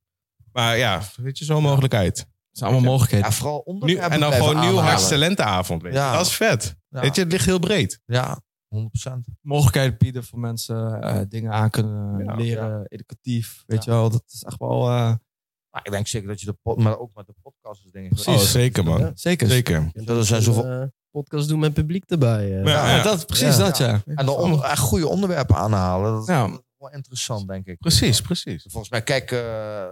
B: Maar ja, weet je, zo'n mogelijkheid.
E: Het zijn allemaal mogelijkheden.
C: Ja, vooral onder
B: Nu, en dan gewoon nieuw Harts Talentenavond, weet je.
C: Ja.
B: Dat is vet.
C: Ja.
B: Weet je, het ligt heel breed.
C: Ja, 100%.
E: Mogelijkheden bieden voor mensen eh, dingen aan kunnen
B: Ja.
E: leren, educatief. Weet je wel, dat is echt wel... eh,
C: Maar ik denk zeker dat je de pod, maar ook met de podcast is dingen.
E: Precies.
B: Oh, zeker man.
D: Ja.
E: zeker.
B: Zeker.
D: Je
C: Ja, er zijn
D: kunt
C: zoveel-
D: een, eh, podcast doen met publiek erbij. eh.
B: Ja,
E: Ja,
B: ja.
E: Dat, precies
C: Ja.
E: dat, ja.
C: En dan onder, echt goede onderwerpen aanhalen. Dat is
E: Ja.
C: dat is wel interessant, denk ik.
B: Precies, precies.
C: Volgens mij kijken eh,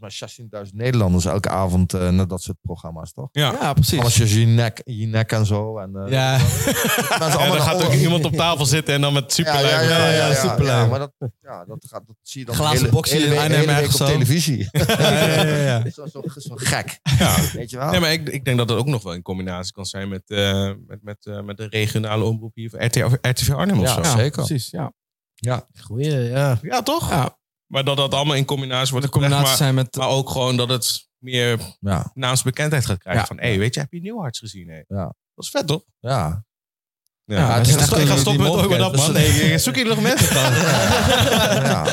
C: volgens mij 16.000 Nederlanders elke avond eh, naar dat soort programma's, toch?
B: Ja.
E: Ja, precies.
C: Alles je nek, je nek en zo. En, eh,
E: Ja,
C: mensen
B: Ja,
C: allemaal
B: dan gaat
C: naar
B: ook
C: onder-
B: iemand op tafel zitten en dan met
C: ja, ja,
B: superlijm.
C: ja, ja, ja, ja,
E: superleuk.
C: ja, maar dat, ja, dat, gaat, dat zie je dan
E: Glazen
C: hele-
E: boxen
C: hele
E: in
C: week-
E: Arnhem
C: hele week
E: ergens
C: op
E: zo.
C: televisie.
E: ja, ja, ja.
C: Zo- zo- Zo'n gek,
B: Ja.
C: weet je wel?
B: Nee, maar ik, ik denk dat dat ook nog wel in combinatie kan zijn met, eh, met, met, eh, met de regionale omroep hier van RTL, of RTV Arnhem of zo.
E: Ja,
C: zeker.
E: Precies, ja.
D: Goeie, ja.
B: Ja, toch?
E: Ja.
B: Maar dat dat allemaal in combinatie wordt
E: De
B: gelegd,
E: combinatie
B: maar,
E: zijn met...
B: maar ook gewoon dat het meer
C: Ja,
B: naamsbekendheid gaat krijgen.
E: Ja.
B: Van, hé, hey, weet je, heb je Nieuwharts gezien? Hé?
C: Ja.
B: Dat is vet, toch?
C: ja.
B: Ja,
E: Ja,
B: ik,
E: het is echt
B: ga stoppen, ik ga
E: die
B: stoppen met ooit met dat, man.
E: mogelijkheid.
B: Nee, zoek hier nog mensen van.
C: ja.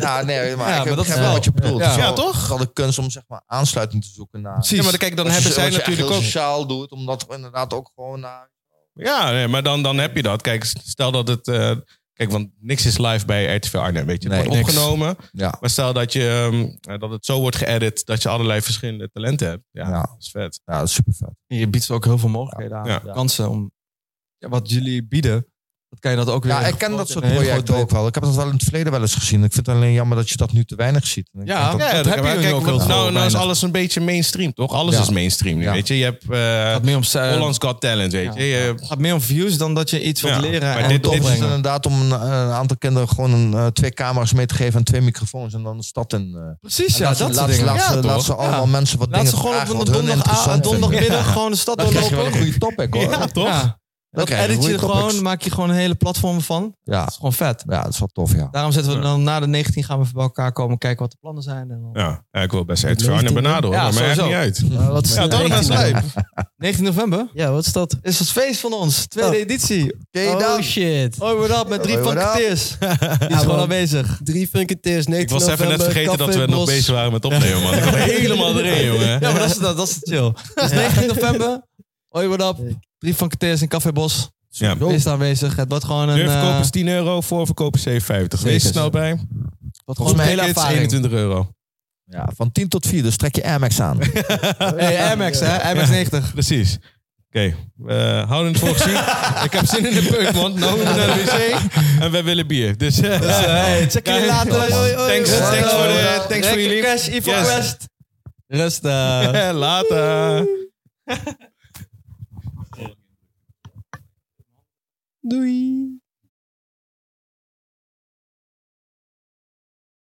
C: ja, nee, maar,
E: Ja, maar dat
C: ik
E: is
C: begrijp
E: wel-
C: wat je bedoelt.
E: Ja.
C: Het is
B: Ja,
C: wel-
B: toch?
C: Vooral de kunst om zeg maar aansluiting te zoeken naar...
B: Ja, maar dan, kijk, dan
C: Wat je-
B: hebben zij
C: wat je echt
B: natuurlijk
C: heel
B: ook...
C: sociaal doet, omdat we inderdaad ook gewoon naar...
B: Ja, nee, maar dan, dan heb je dat. Kijk, stel dat het... eh, kijk, want niks is live bij RTV Arnhem, weet je. Het
C: Nee,
B: wordt
C: niks.
B: opgenomen.
C: Ja.
B: Maar stel dat, je, ehm, eh, dat het zo wordt geëdit dat je allerlei verschillende talenten hebt. Ja,
C: Ja.
B: dat is vet.
C: Ja, dat is super vet.
E: Je biedt ze ook heel veel mogelijkheden aan.
B: Ja.
E: Kansen om... Ja, wat jullie bieden, dat kan je dat ook weer...
C: Ja, ik ken dat soort
E: een heel groot
C: projecten ook wel. Ik heb dat wel in het verleden wel eens gezien. Ik vind het alleen jammer dat je dat nu te weinig ziet. En ik
E: Ja,
C: denk dat-
E: dat heb je
B: maar
E: nu ook heel
B: nou,
E: veel,
B: nou, is
E: bijna.
B: alles een beetje mainstream, toch? Alles
C: Ja.
B: is mainstream, nu,
C: Ja.
B: weet je. Je hebt eh
E: Het gaat meer om, eh,
B: Holland's Got Talent, weet je.
E: ja.
B: Je hebt-
E: het gaat meer om views dan dat je iets wilt
B: Ja,
E: leren
B: maar
E: en
B: dit-
E: dit,
B: dit
C: Tof is het
E: opbrengen.
C: inderdaad om een, eh, een aantal kinderen gewoon een, eh, twee camera's mee te geven en twee microfoons en dan de stad in. eh.
E: Precies, ja,
C: laat, ze-
E: dat
C: laat,
E: soort
C: ze-
E: dingen.
C: laat
E: Ja,
C: ze,
E: toch?
C: laat ze allemaal
E: Ja.
C: mensen wat
E: Laat
C: dingen
E: ze gewoon op
C: vragen
E: een
C: wat hun
E: donderdag,
C: interessant vinden.
E: donderdagmiddag gewoon de stad
C: Dan krijg je wel een
E: doorlopen.
C: goede topic hoor.
B: Ja, toch?
E: Ja,
C: Dan
E: dat
C: krijg je
E: edit je
C: goede topics.
E: gewoon, maak je gewoon een hele platform van. Dat
C: Ja,
E: is gewoon vet.
C: ja, dat is wel tof ja.
E: Daarom zetten we
B: Ja.
E: dan na de 19 gaan we even bij elkaar komen kijken wat de plannen zijn. En dan-
B: Ja, ja, ik wil best RTV Arnhem benaderen,
E: nou? Ja,
B: hoor, maar echt niet
E: sowieso.
B: uit.
D: Maar wat is
B: Ja,
D: de
B: dat is
D: 19e?
B: leuk.
E: 19 november
D: Ja, wat is dat?
E: is het feest van ons. Tweede
D: Oh.
E: editie.
C: Oké,
D: oh
C: dan.
D: shit.
E: Hoi, what up? Met drie
C: Hoi,
E: van
C: what up?
E: Keteers. Die is gewoon
D: man.
E: aanwezig.
D: Drie funketeers, 19
B: Ik was even net
D: november,
B: vergeten dat
D: Café
B: we nog
D: Bos.
B: bezig waren met opnemen, man. Ik had helemaal erin, jongen.
E: Ja, maar dat is, dat, dat is het chill. Dus 19 november. Hoi, what up? Drie van Keteers in Café Bos.
B: Ja.
E: Is aanwezig. Het wordt gewoon een,
B: Duurverkoop
E: eh,
B: is 10 euro, voorverkoop is 7,50.
E: Zeker.
B: Wees er snel bij.
E: wordt gewoon
B: Volgens
E: een
B: mij
E: hele
B: is het
E: ervaring.
B: 21 euro.
C: Ja, van 10 tot 4, dus trek je Air Max aan.
E: Hey, Air Max, hè? Air Max 90.
B: Precies. Oké, we houden het voor gezien. Ik heb zin in de peuk, man. Nou, we moeten naar de wc. En wij willen bier. Dus, eh,
E: check
B: jullie later. Thanks, thanks voor, de, thanks voor jullie.
E: Cash, Ivo
B: Yes.
E: eh, Quest. Rustig.
B: Later.